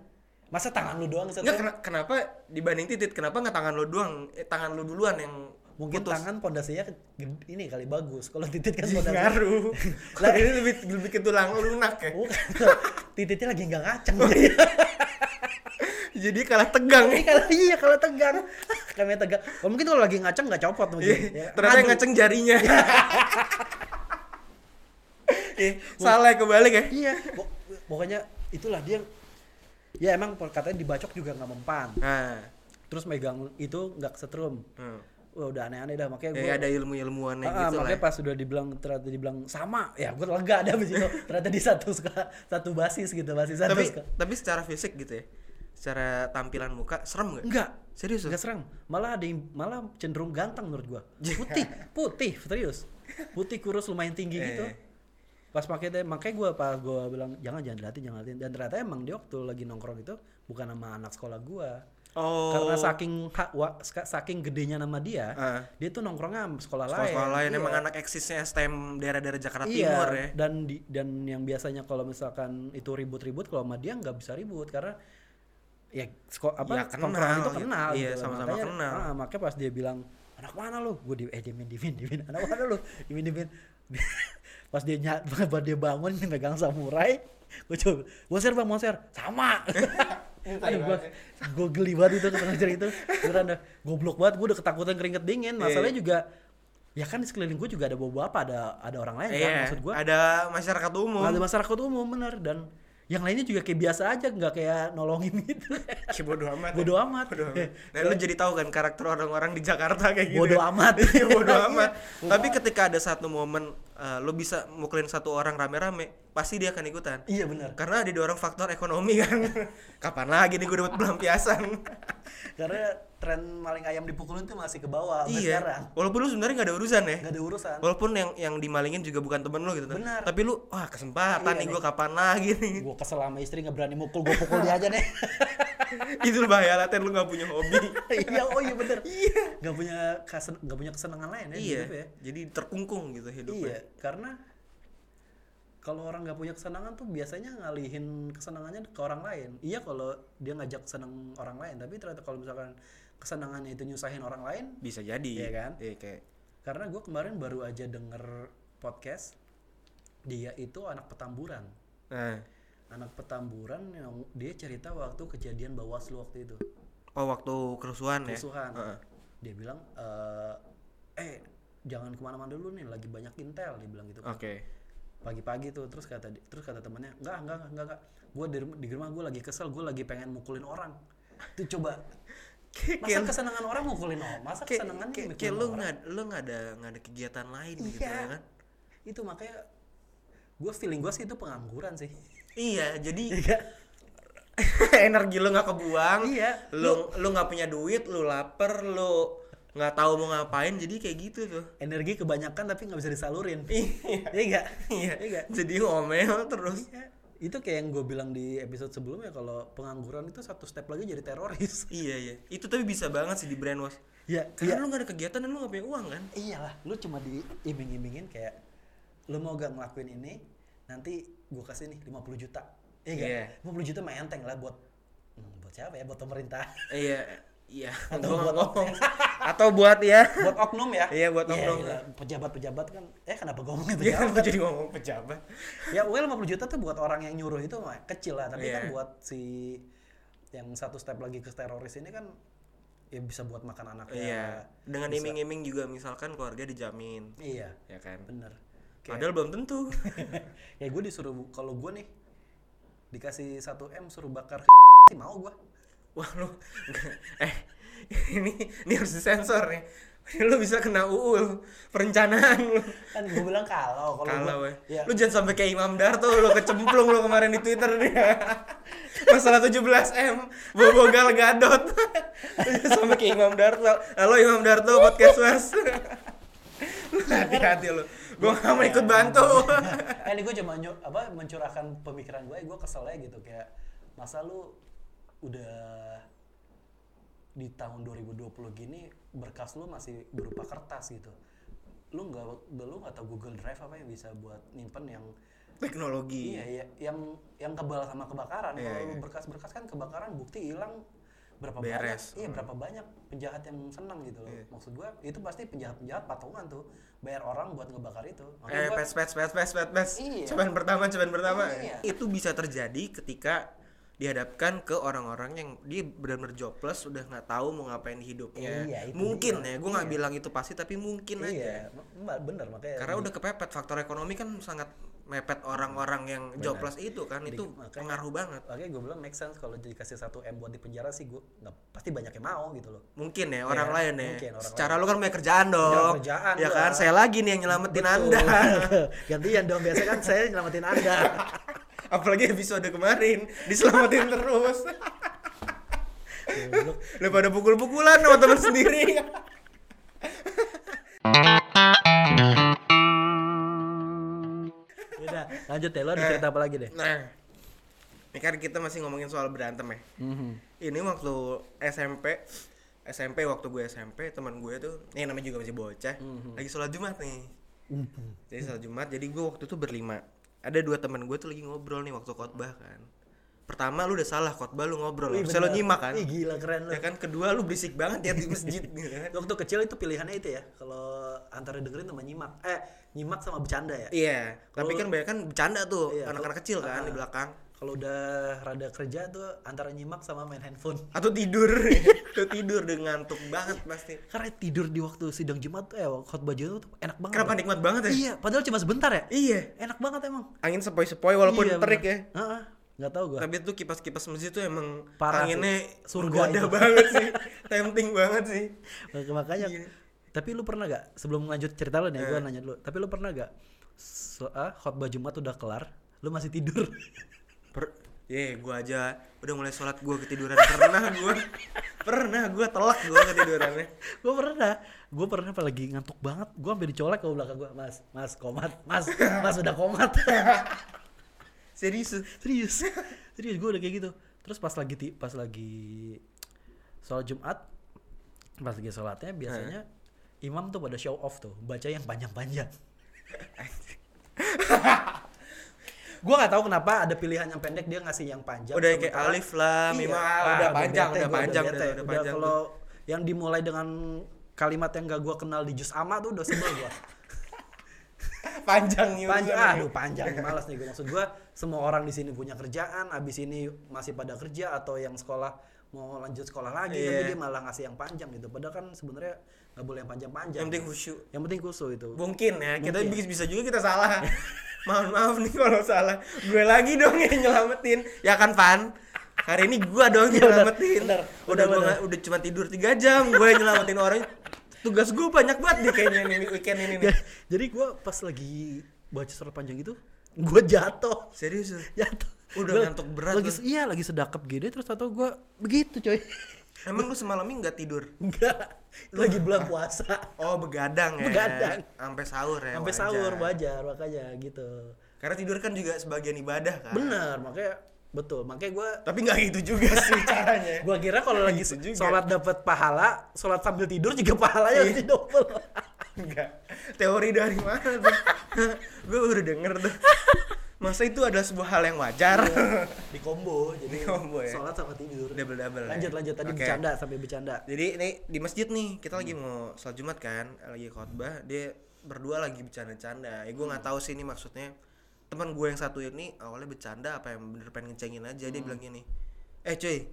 S2: Masa tangan lu doang
S1: Nggak
S2: kesetrum?
S1: kena- kenapa dibanding titit kenapa nggak tangan lo doang? Eh, tangan lo duluan yang
S2: Mungkin tangan pondasinya ke- gede- ini kali bagus. Kalau titik
S1: Iya,
S2: kan pondasinya
S1: ngaruh. Lah ini lebih lebih ke tulang lunak ya.
S2: Bukan. titiknya lagi nggak ngaceng.
S1: Oh, iya. Jadi kalah tegang.
S2: Ini kalau iya kalau tegang, kami tegang. Kalau mungkin kalau lagi ngaceng nggak copot mungkin. Ya,
S1: Iya, Ternyata yang
S2: ngadu.
S1: ngaceng jarinya. Eh, salah kebalik ya.
S2: Iya. Pok- Pokoknya itulah dia. Ya emang katanya dibacok juga nggak mempan.
S1: Nah,
S2: Terus megang itu nggak setrum.
S1: hmm.
S2: Wah udah aneh-aneh dah makanya gue.
S1: Eh, ada ilmu-ilmuannya
S2: Ah,
S1: gitu lah.
S2: makanya pas sudah dibilang ternyata dibilang sama, ya gue lega dah abis itu. ternyata di satu suka- satu basis gitu, basis satu.
S1: tapi
S2: suka.
S1: tapi secara fisik gitu ya secara tampilan muka serem nggak
S2: Enggak,
S1: serius lu?
S2: enggak serem. Malah ada yang malah cenderung ganteng menurut gua. Putih, putih, serius. Putih kurus lumayan tinggi
S1: Eh.
S2: gitu. Pas pakai teh, makanya gua pas gua bilang jangan jangan dilatih, jangan dilatih. Dan ternyata emang dia waktu lagi nongkrong itu bukan nama anak sekolah gua.
S1: oh
S2: Karena saking ha- wa- ska- saking gedenya nama dia,
S1: Ah.
S2: dia tuh nongkrongnya sama sekolah,
S1: sekolah lain
S2: Iya.
S1: emang anak eksisnya STM daerah-daerah Jakarta
S2: Iya,
S1: Timur ya
S2: dan di- dan yang biasanya kalau misalkan itu ribut-ribut kalau sama dia nggak bisa ribut karena ya sko- apa
S1: Ya, kenal,
S2: tongkrongan itu
S1: gitu.
S2: kenal
S1: Iya,
S2: gitu.
S1: sama-sama
S2: Makanya-
S1: kenal.
S2: ah, makanya pas dia bilang anak mana lu gue di eh dimin dimin dimin anak mana lu dimin dimin pas dia nyat pas dia bangun dia megang samurai gue coba monster bang monster sama aduh gue gue geli banget itu ketemu ajar itu beneran dah goblok banget gue udah ketakutan keringet
S1: Iya.
S2: dingin masalahnya juga ya kan di sekeliling gue juga ada bapak ada ada orang lain kan
S1: Iya,
S2: maksud gue
S1: ada masyarakat umum
S2: ada masyarakat umum bener dan yang lainnya juga kayak biasa aja nggak kayak nolongin gitu
S1: Ya, bodo amat
S2: bodo amat
S1: bodo amat nah lu jadi tahu kan karakter orang-orang di Jakarta kayak gitu
S2: Bodo
S1: kan?
S2: amat.
S1: Iya, bodo
S2: Iya.
S1: amat
S2: Bodo
S1: tapi ketika ada satu momen eh, lu bisa mukulin satu orang rame-rame pasti dia akan ikutan
S2: iya bener
S1: karena ada orang faktor ekonomi kan kapan lagi nih gue dapat pelampiasan
S2: karena tren maling ayam dipukulin tuh masih ke bawah sampai
S1: iya
S2: sekarang
S1: walaupun lu sebenarnya nggak ada urusan ya
S2: nggak ada urusan
S1: walaupun yang yang dimalingin juga bukan temen lu gitu kan.
S2: Benar.
S1: tapi lu wah kesempatan
S2: Iya,
S1: nih
S2: nih.
S1: gue kapan lagi nih
S2: gue kesel sama istri nggak berani mukul gue pukul dia aja deh
S1: itu lu bahaya laten lu nggak punya hobi
S2: iya oh iya bener iya nggak punya kasen nggak punya kesenangan lain ya di
S1: iya
S2: hidup ya
S1: jadi terkungkung gitu
S2: iya
S1: hidupnya
S2: karena kalau orang nggak punya kesenangan tuh biasanya ngalihin kesenangannya ke orang lain iya kalau dia ngajak seneng orang lain tapi ternyata kalau misalkan kesenangannya itu nyusahin orang lain
S1: bisa jadi
S2: Iya kan?
S1: iya kayak
S2: karena gue kemarin baru aja denger podcast dia itu anak petamburan
S1: nah
S2: anak petamburan yang dia cerita waktu kejadian bawaslu waktu itu
S1: oh waktu kerusuhan,
S2: kerusuhan
S1: ya Heeh.
S2: dia bilang eh, eh jangan kemana-mana dulu nih lagi banyak intel dia bilang gitu
S1: oke
S2: pagi-pagi tuh terus kata di- terus kata temennya enggak enggak enggak enggak, gue di, rum- di rumah gue lagi kesel gue lagi pengen mukulin orang tuh coba
S1: Kayak-
S2: masa kesenangan orang mukulin orang masa
S1: kayak
S2: kesenangan
S1: kayak,
S2: mukulin
S1: kayak lu
S2: orang?
S1: nggak lu nggak ada nggak ada kegiatan lain gitu
S2: Iya.
S1: ya kan
S2: itu makanya gue feeling gue sih itu pengangguran sih
S1: iya jadi
S2: iya
S1: energi lu nggak kebuang
S2: Iya.
S1: lu lu nggak punya duit lu lapar lu nggak tahu mau ngapain jadi kayak gitu tuh
S2: energi kebanyakan tapi nggak bisa disalurin iya enggak
S1: iya
S2: enggak
S1: jadi ngomel terus
S2: Iya. itu kayak yang gue bilang di episode sebelumnya kalau pengangguran itu satu step lagi jadi teroris
S1: iya iya itu tapi bisa banget sih di brainwash
S2: ya
S1: karena lu gak ada kegiatan dan lu gak punya uang kan
S2: iyalah lu cuma diiming-imingin kayak lu mau gak ngelakuin ini nanti gua kasih nih 50 juta iya gak?
S1: Iya.
S2: 50 juta mah enteng lah buat hmm, buat siapa ya buat pemerintah
S1: iya iya
S2: Atau
S1: gua nggak
S2: buat-
S1: ngomong atau buat ya
S2: buat oknum ya
S1: Iya, buat oknum.
S2: gila. pejabat-pejabat kan eh kenapa gua ngomongin
S1: dia kan
S2: pejabat
S1: jadi ngomong pejabat
S2: ya well 50 juta tuh buat orang yang nyuruh itu mah kecil lah tapi kan
S1: Iya.
S2: buat si yang satu step lagi ke teroris ini kan ya bisa buat makan anaknya
S1: iya dengan
S2: bisa-
S1: iming-iming juga misalkan keluarga dijamin
S2: iya
S1: ya kan
S2: bener Kayak-
S1: padahal belum tentu
S2: ya gue disuruh kalau gue nih dikasih 1 m suruh bakar sih mau gue
S1: wah lu eh ini ini harus disensor nih lu bisa kena UU lu. perencanaan lu
S2: kan gue bilang kalau kalau
S1: kalau
S2: gua-
S1: weh.
S2: ya
S1: lu jangan sampai kayak Imam Darto lu kecemplung lu kemarin di Twitter dia masalah 17 m bobo gal gadot Lu jangan sampai kayak Imam Darto halo Imam Darto podcast mas hati-hati lu gue gak mau ikut bantu
S2: eh ini gue cuma nyu- apa mencurahkan pemikiran gue gue kesel aja gitu kayak masa lu udah di tahun 2020 gini berkas lu masih berupa kertas gitu lu nggak lu nggak tahu Google Drive apa yang bisa buat nyimpen yang
S1: teknologi
S2: iya iya, yang yang kebal sama kebakaran
S1: Iya,
S2: kalau
S1: iya.
S2: lu berkas-berkas kan kebakaran bukti hilang berapa
S1: Beres. Hmm.
S2: banyak iya berapa banyak penjahat yang senang gitu loh
S1: Iya.
S2: maksud gue itu pasti penjahat-penjahat patungan tuh bayar orang buat ngebakar itu Makanya
S1: eh
S2: gua-
S1: pes pes pes pes pes pes
S2: Iya.
S1: cobaan pertama cobaan pertama
S2: Iya.
S1: itu bisa terjadi ketika dihadapkan ke orang-orang yang dia benar-benar jobless udah nggak tahu mau ngapain di hidupnya
S2: Iya, itu
S1: mungkin ya
S2: dia.
S1: gue nggak
S2: Iya.
S1: bilang itu pasti tapi mungkin aja
S2: Iya, mbak bener makanya.
S1: karena udah kepepet faktor ekonomi kan sangat mepet orang-orang yang jobless itu kan
S2: Di-
S1: itu
S2: makanya-
S1: pengaruh banget
S2: makanya gue bilang make sense kalau dikasih satu m buat di penjara sih gue nggak pasti banyak yang mau gitu loh.
S1: mungkin ya orang
S2: Iya,
S1: lain ya
S2: mungkin orang
S1: secara lu kan punya kerjaan dong
S2: kerjaan
S1: ya
S2: gua.
S1: kan saya lagi nih yang nyelamatin anda
S2: Gantian dong biasa kan saya nyelamatin anda.
S1: apalagi episode kemarin diselamatin terus
S2: Goblok.
S1: lu pada pukul-pukulan sama temen sendiri
S2: Udah lanjut ya lo
S1: Eh.
S2: ada cerita apa lagi deh?
S1: nah ini kan kita masih ngomongin soal berantem ya ini waktu SMP SMP waktu gue SMP teman gue tuh ini namanya juga masih bocah lagi sholat jumat nih jadi sholat jumat jadi gue waktu itu berlima ada dua teman gue tuh lagi ngobrol nih waktu khotbah kan pertama lu udah salah khotbah lu ngobrol
S2: Wih,
S1: harusnya lu
S2: bener.
S1: nyimak kan
S2: Ih, gila keren lo.
S1: ya kan kedua lu berisik banget ya di masjid gitu kan.
S2: Waktu kecil itu pilihannya itu ya kalau antara dengerin sama nyimak. Eh nyimak sama bercanda ya.
S1: Iya, tapi kan banyak kan bercanda tuh
S2: Iya,
S1: anak-anak
S2: kalau-
S1: kecil kan di
S2: Ah.
S1: belakang
S2: Kalau udah rada kerja tuh antara nyimak sama main handphone.
S1: atau tidur, atau tidur udah ngantuk banget pasti.
S2: Karena tidur di waktu sidang Jumat eh khotbah Jumat tuh enak banget.
S1: Kenapa nikmat banget ya?
S2: Iya, padahal cuma sebentar ya.
S1: Iya,
S2: Enak banget emang.
S1: angin sepoi-sepoi walaupun
S2: Iya,
S1: terik ya.
S2: bener. Heeh. Nggak tahu gua.
S1: Tapi tuh kipas-kipas masjid tuh emang
S2: Parah
S1: anginnya
S2: sih. Surga
S1: menggoda
S2: itu.
S1: banget sih, tempting banget sih.
S2: Mak- Makanya.
S1: Iya. Eh.
S2: Tapi lu pernah gak sebelum lanjut cerita lu nih, gua nanya dulu. Tapi lu pernah gak so, ah, khotbah Jumat udah kelar, lu masih tidur?
S1: Per Ye, gua aja udah mulai sholat gua ketiduran pernah gua pernah gua telak gua ketidurannya.
S2: gua pernah. Gua pernah apalagi ngantuk banget, gua sampai dicolek ke belakang gua, "Mas, Mas komat, Mas, Mas udah komat."
S1: Serius.
S2: serius. Serius gua udah kayak gitu. Terus pas lagi ti- pas lagi sholat Jumat, pas lagi sholatnya biasanya imam tuh pada show off tuh, baca yang panjang-panjang. gue nggak tahu kenapa ada pilihan yang pendek dia ngasih yang panjang
S1: Udah kayak
S2: sementara-
S1: alif
S2: Iya.
S1: lah, mim ah, udah panjang,
S2: bete
S1: udah
S2: gua,
S1: panjang,
S2: bete.
S1: udah- udah panjang
S2: kalau yang dimulai dengan kalimat yang gak gue kenal di jus ama tuh udah sebel gue
S1: Panjang iya, nih
S2: panjang
S1: urusannya.
S2: aduh panjang malas nih gue maksud gue semua orang di sini punya kerjaan abis ini masih pada kerja atau yang sekolah mau lanjut sekolah lagi
S1: Iya.
S2: tapi dia malah ngasih yang panjang gitu padahal kan sebenarnya nggak boleh yang panjang-panjang
S1: Yang penting khusyuk.
S2: yang penting khusus itu
S1: mungkin ya kita
S2: Mungkin.
S1: bisa- bisa juga kita salah maaf maaf nih kalau salah gue lagi dong yang nyelamatin ya kan Pan hari ini gue dong yang nyelamatin
S2: bener,
S1: udah
S2: bener,
S1: gua
S2: bener.
S1: nggak- udah cuma tidur tiga jam gue yang nyelamatin orang tugas gue banyak banget nih kayaknya nih weekend ini nih
S2: Ya, jadi gue pas lagi baca surat panjang itu gue jatuh
S1: serius lu?
S2: jatuh
S1: Udah
S2: Gua
S1: ngantuk berat
S2: lagi
S1: lu.
S2: se- iya lagi sedakap gini terus atau gue begitu coy
S1: emang lu semalamnya nggak tidur
S2: enggak lagi bulan puasa
S1: oh begadang ya
S2: Begadang.
S1: sampai sahur ya
S2: sampai
S1: wajar.
S2: sahur Eh, wajar makanya gitu
S1: karena tidur kan juga sebagian ibadah kan
S2: bener makanya betul makanya gue
S1: tapi nggak gitu juga sih caranya
S2: gua kira kalau lagi
S1: Gitu juga.
S2: sholat dapat pahala sholat sambil tidur juga pahalanya pasti double
S1: Enggak. Teori dari mana tuh? gue baru denger tuh. Masa itu adalah sebuah hal yang wajar?
S2: di combo jadi
S1: Di combo ya.
S2: sholat sama tidur
S1: Double-double ya.
S2: lanjut lanjut tadi
S1: Oke.
S2: bercanda sampai bercanda
S1: Jadi ini di masjid nih, kita lagi mau sholat Jumat kan, lagi khotbah, dia berdua lagi bercanda-canda. Ya gue nggak tahu sih ini maksudnya. Teman gue yang satu ini awalnya bercanda apa yang bener pengen ngecengin aja dia bilang gini. Eh cuy,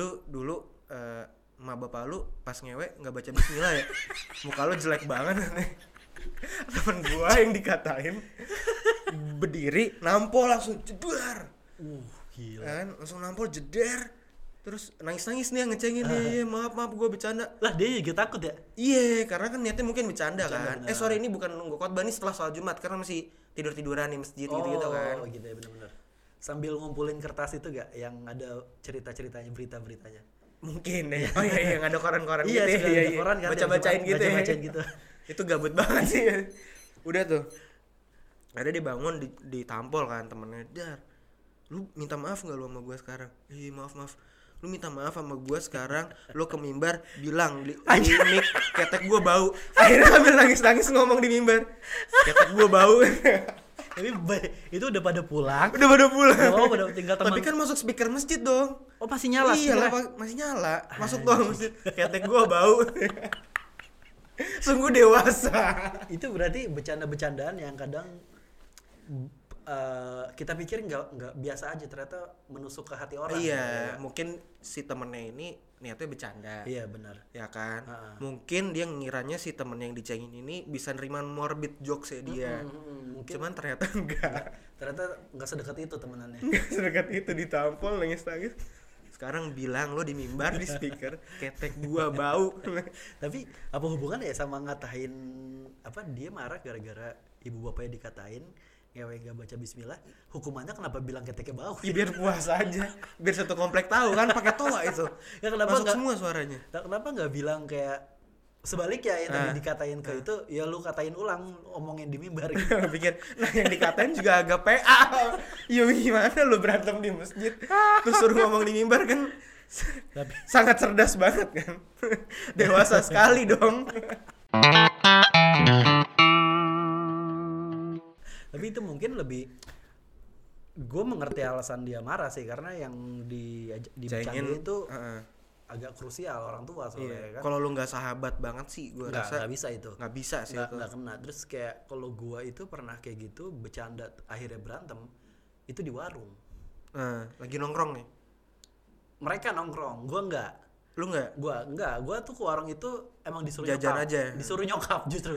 S1: lu dulu eh emak bapak lu pas ngewe nggak baca bismillah ya? Muka lu jelek banget Temen gue yang dikatain berdiri nampol langsung jedar
S2: uh gila
S1: kan langsung nampol jeder terus nangis nangis nih yang ngecengin nih maaf maaf gue bercanda
S2: lah dia juga takut ya
S1: iya karena kan niatnya mungkin bercanda, kan
S2: Bercanda,
S1: eh sorry ini bukan nunggu khotbah ini setelah sholat jumat karena masih tidur tiduran di masjid gitu gitu kan
S2: Oh, gitu ya benar-benar sambil ngumpulin kertas itu gak yang ada cerita ceritanya berita beritanya
S1: mungkin ya oh iya iya nggak ada koran koran
S2: Iya,
S1: gitu ya,
S2: sudah ada koran kan,
S1: baca bacain
S2: yang
S1: gitu
S2: baca-bacain gitu.
S1: itu gabut banget sih udah tuh ada dia bangun di- ditampol kan temennya dar lu minta maaf nggak lu sama gua sekarang ih maaf maaf lu minta maaf sama gua sekarang lu ke mimbar bilang di, di mic ketek gua bau akhirnya sambil nangis nangis ngomong di mimbar ketek gua bau
S2: Tapi ba- itu udah pada pulang.
S1: udah pada pulang
S2: Oh, pada tinggal teman.
S1: tapi kan masuk speaker masjid dong
S2: Oh, pasti nyala.
S1: iya lah,
S2: nyala. Ah, iya.
S1: Pak. masih nyala masuk doang masjid ketek gua bau sungguh dewasa
S2: Itu berarti bercanda-bercandaan yang kadang eh, kita pikir nggak nggak biasa aja ternyata menusuk ke hati orang.
S1: iya mungkin si temennya ini niatnya bercanda
S2: Iya, Ah, benar.
S1: ya kan
S2: Heeh.
S1: mungkin dia ngiranya si temen yang dicengin ini bisa nerima morbid jokes ya dia
S2: Mm-mm, mungkin
S1: cuman ternyata enggak
S2: ternyata nggak sedekat itu temenannya.
S1: enggak sedekat itu ditampol nangis nangis sekarang bilang lo di mimbar di speaker ketek gua bau
S2: Tapi apa hubungannya ya sama ngatain apa dia marah gara-gara ibu bapaknya dikatain ngewe nggak baca bismillah hukumannya kenapa bilang keteknya bau
S1: Ya, biar puas aja biar satu komplek tahu kan pakai toa itu
S2: Ya, kenapa
S1: masuk
S2: enggak-
S1: semua suaranya
S2: Nah, kenapa nggak bilang kayak sebaliknya yang tadi
S1: Ah.
S2: dikatain ke itu ya lu katain ulang omongin di mimbar gitu.
S1: Gua pikir nah yang dikatain juga agak PA ya gimana lu berantem di masjid terus suruh ngomong di mimbar kan
S2: Tapi
S1: sangat cerdas banget kan dewasa sekali dong
S2: tapi itu mungkin lebih gue mengerti alasan dia marah sih karena yang di
S1: Cengin
S2: dibicarain itu
S1: heeh.
S2: agak krusial orang tua soalnya
S1: Iya.
S2: kan.
S1: Kalau lu nggak sahabat banget sih, gue
S2: Nggak,
S1: rasa
S2: nggak bisa itu.
S1: nggak bisa sih
S2: nggak
S1: itu.
S2: nggak kena terus kayak kalau gua itu pernah kayak gitu bercanda t- akhirnya berantem itu di warung
S1: Nah, lagi nongkrong nih,
S2: mereka nongkrong gua nggak
S1: lu nggak?
S2: gua nggak gua tuh ke warung itu emang disuruh
S1: Jajan
S2: nyokap
S1: aja.
S2: disuruh nyokap justru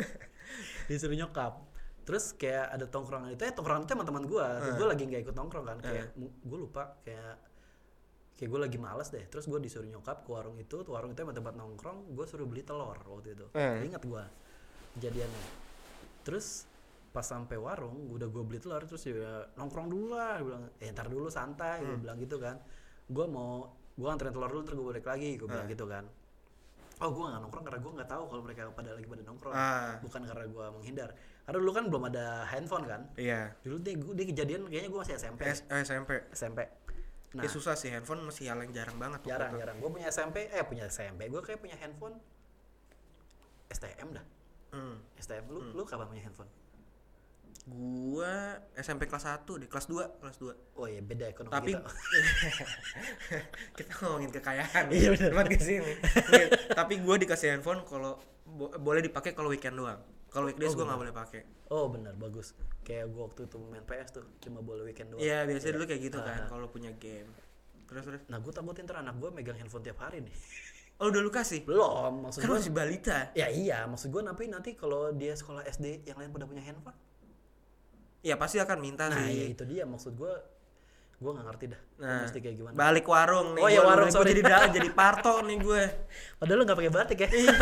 S2: disuruh nyokap terus kayak ada tongkrongan itu eh tongkrongan itu teman-teman gua Terus gua lagi nggak ikut nongkrong kan kayak mu- gua lupa kayak kayak gua lagi malas deh terus gua disuruh nyokap ke warung itu tuh warung itu emang tempat nongkrong gua suruh beli telur waktu itu
S1: Hmm.
S2: ingat gua kejadiannya terus pas sampai warung udah gue beli telur terus dia nongkrong dulu lah dia bilang eh ntar dulu santai
S1: Hmm.
S2: gue bilang gitu kan gue mau gue anterin telur dulu terus gue balik lagi gue
S1: Ah.
S2: bilang gitu kan oh gue nggak nongkrong karena gue nggak tahu kalau mereka pada lagi pada nongkrong
S1: Ah.
S2: bukan karena gue menghindar karena dulu kan belum ada handphone kan
S1: Iya.
S2: dulu dia gua- dia kejadian kayaknya gue masih SMP
S1: S- SMP.
S2: SMP
S1: Ya
S2: nah
S1: susah sih handphone masih hal yang jarang banget. waktu
S2: jarang ya?
S1: itu.
S2: jarang gue punya SMP eh punya SMP gue kayak punya handphone STM dah
S1: Hmm.
S2: STM lu lu kapan punya handphone
S1: Gua SMP kelas 1 deh, kelas 2, kelas 2.
S2: oh iya beda ekonomi
S1: Tapi
S2: kita.
S1: kita ngomongin kekayaan.
S2: Iya, bener.
S1: Buat ke sini. Iya, Tapi gua dikasih handphone kalau bo- boleh dipakai kalau weekend doang. Kalau weekdays gua nggak boleh pakai.
S2: Oh benar bagus. Kayak gua waktu itu main PS tuh cuma boleh weekend doang.
S1: Iya, biasanya dulu kayak gitu kan kalau punya game. Terus terus.
S2: Nah gua takutin ntar anak gua megang handphone tiap hari nih.
S1: Oh, udah lu kasih?
S2: Belum maksud
S1: Kan
S2: gua.
S1: masih balita.
S2: Ya iya maksud gua nanti nanti kalau dia sekolah SD yang lain pada punya handphone.
S1: Ya pasti akan minta
S2: Nah ya
S1: sih.
S2: itu dia maksud gua. Gua nggak ngerti dah.
S1: iya. Nah.
S2: Mesti kayak gimana.
S1: Balik warung nih.
S2: Oh, iya,
S1: gua-
S2: warung,
S1: gua
S2: sorry.
S1: jadi da- jadi parto nih gue.
S2: Padahal lu nggak pakai batik ya?
S1: Iya,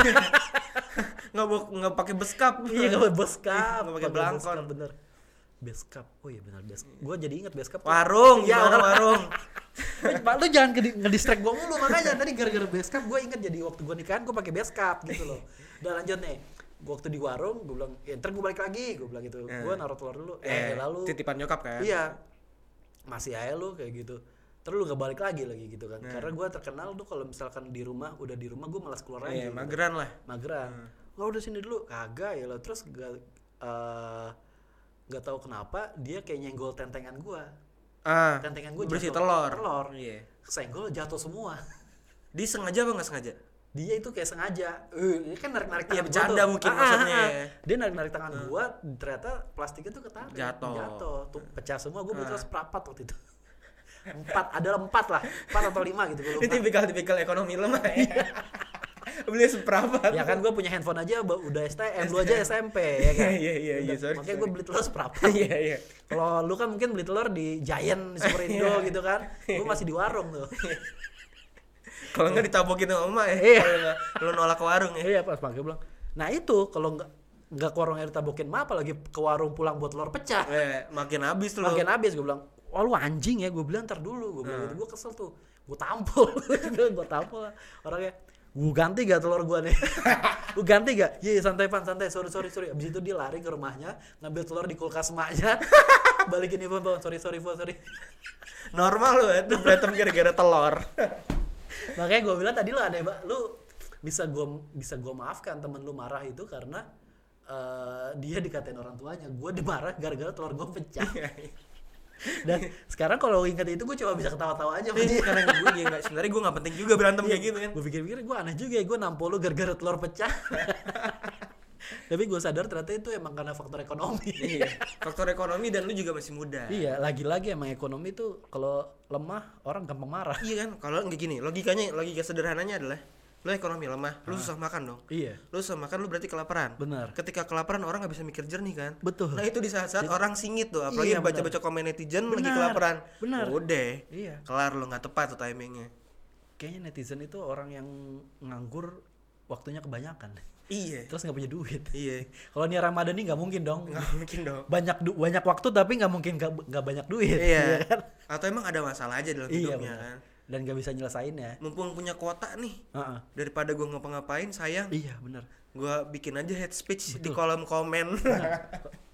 S1: Nggak mau nggak pakai beskap.
S2: Iya nggak pakai beskap.
S1: Nggak pakai belangkon.
S2: beskap, Bener. Beskap. Oh iya benar beskap. Gua jadi ingat beskap.
S1: Warung,
S2: Iya,
S1: gimana warung?
S2: Pak lu jangan ngedi- ngedistract gua mulu makanya tadi gara-gara beskap gua inget jadi waktu gua nikahan gua pakai beskap gitu loh. Udah lanjut nih. Gua waktu di warung gua bilang, "Ya ntar gua balik lagi." Gua bilang gitu. Gua naruh telur dulu.
S1: Eh,
S2: Eh, lalu
S1: titipan nyokap kan?
S2: Iya. Masih aja lu kayak gitu. Terus lu gak balik lagi lagi gitu
S1: Nah.
S2: kan. Karena gua terkenal tuh kalau misalkan di rumah udah di rumah gua malas keluar lagi.
S1: Iya, Hmm. mageran lah.
S2: Mageran. Lo udah sini dulu. Kagak ya lo. Terus gak eh, gak tahu kenapa dia kayak nyenggol tentengan gua.
S1: Ah.
S2: Tentengan gua
S1: berisi
S2: jatuh.
S1: telur.
S2: Telur.
S1: Iya.
S2: Senggol jatuh semua.
S1: Dia sengaja apa nggak sengaja?
S2: dia itu kayak sengaja eh dia kan narik-narik tangan
S1: Iya,
S2: gua
S1: bercanda
S2: tuh.
S1: mungkin
S2: Ah, ah,
S1: maksudnya.
S2: ah. dia narik-narik tangan gua ternyata plastiknya tuh ketarik
S1: Jatuh.
S2: jatuh Hmm. Ah. tuh pecah semua gua butuh seperempat waktu itu empat ada empat lah empat atau lima gitu gua
S1: Ini
S2: lupa
S1: tipikal-tipikal ekonomi lemah. ya. Beli seperempat.
S2: ya Iya. kan gua punya handphone aja ba- udah STM lu aja SMP ya kan
S1: Iya, iya, iya,
S2: Udah,
S1: sorry,
S2: makanya gua beli telur seperempat
S1: Iya, iya.
S2: kalau lu kan mungkin beli telur di Giant di Superindo gitu kan gua masih di warung tuh
S1: Kalau nggak ditabokin sama emak ya.
S2: Iya.
S1: Kalau nggak, Lu nolak ke warung ya.
S2: iya pas pagi bilang nah itu kalau nggak nggak ke warung air tabokin mah apalagi ke warung pulang buat telur pecah
S1: Eh, makin habis tuh lu.
S2: makin habis gue bilang oh lu anjing ya gue bilang ntar dulu gue bilang gitu gue kesel tuh gue tampol gue tampol lah. orangnya Gue ganti gak telur gue nih? Gue ganti gak? Iya, iya, santai pan, santai. Sorry, sorry, sorry. Abis itu dia lari ke rumahnya, ngambil telur di kulkas emaknya. Balikin ibu, bang. Sorry, sorry, Fon, sorry.
S1: Normal lu itu berantem gara-gara telur.
S2: Makanya gue bilang tadi lu aneh banget. Lu bisa gue bisa gua maafkan temen lu marah itu karena eh, dia dikatain orang tuanya. Gue dimarah gara-gara telur gue pecah.
S1: Iya,
S2: Dan sekarang kalau ingat itu gue cuma bisa ketawa-tawa aja.
S1: Ini karena gue dia nggak sebenarnya gue nggak penting juga berantem kayak Iya, gitu kan.
S2: Gue pikir-pikir gue aneh juga ya gue nampol lu gara-gara telur pecah. Tapi gue sadar ternyata itu emang karena faktor ekonomi.
S1: Iya. Faktor ekonomi dan lu juga masih muda.
S2: iya, lagi-lagi emang ekonomi tuh kalau lemah orang gampang marah.
S1: Iya kan? Kalau nggak gini, logikanya logika sederhananya adalah lu ekonomi lemah,
S2: Ah.
S1: lu susah makan dong.
S2: Iya.
S1: Lu susah makan lu kan berarti kelaparan.
S2: Benar.
S1: Ketika kelaparan orang nggak bisa mikir jernih kan?
S2: Betul.
S1: Nah itu di saat-saat orang singit tuh, apalagi
S2: Iya,
S1: baca-baca komen netizen lagi
S2: Benar,
S1: kelaparan.
S2: benar.
S1: Udah.
S2: Iya.
S1: Kelar lu nggak tepat tuh timingnya.
S2: Kayaknya netizen itu orang yang nganggur waktunya kebanyakan.
S1: Iya.
S2: Terus nggak punya duit.
S1: Iya.
S2: Kalau ini Ramadan nih nggak mungkin dong.
S1: Nggak mungkin dong.
S2: Banyak du- banyak waktu tapi nggak mungkin nggak nggak banyak duit.
S1: Iya.
S2: kan?
S1: Atau emang ada masalah aja dalam
S2: Iya
S1: hidupnya
S2: benar.
S1: kan?
S2: Dan nggak bisa nyelesainnya.
S1: Mumpung punya kuota nih,
S2: Heeh.
S1: daripada gua ngapa-ngapain sayang,
S2: Iya benar.
S1: gua bikin aja head speech di kolom komen.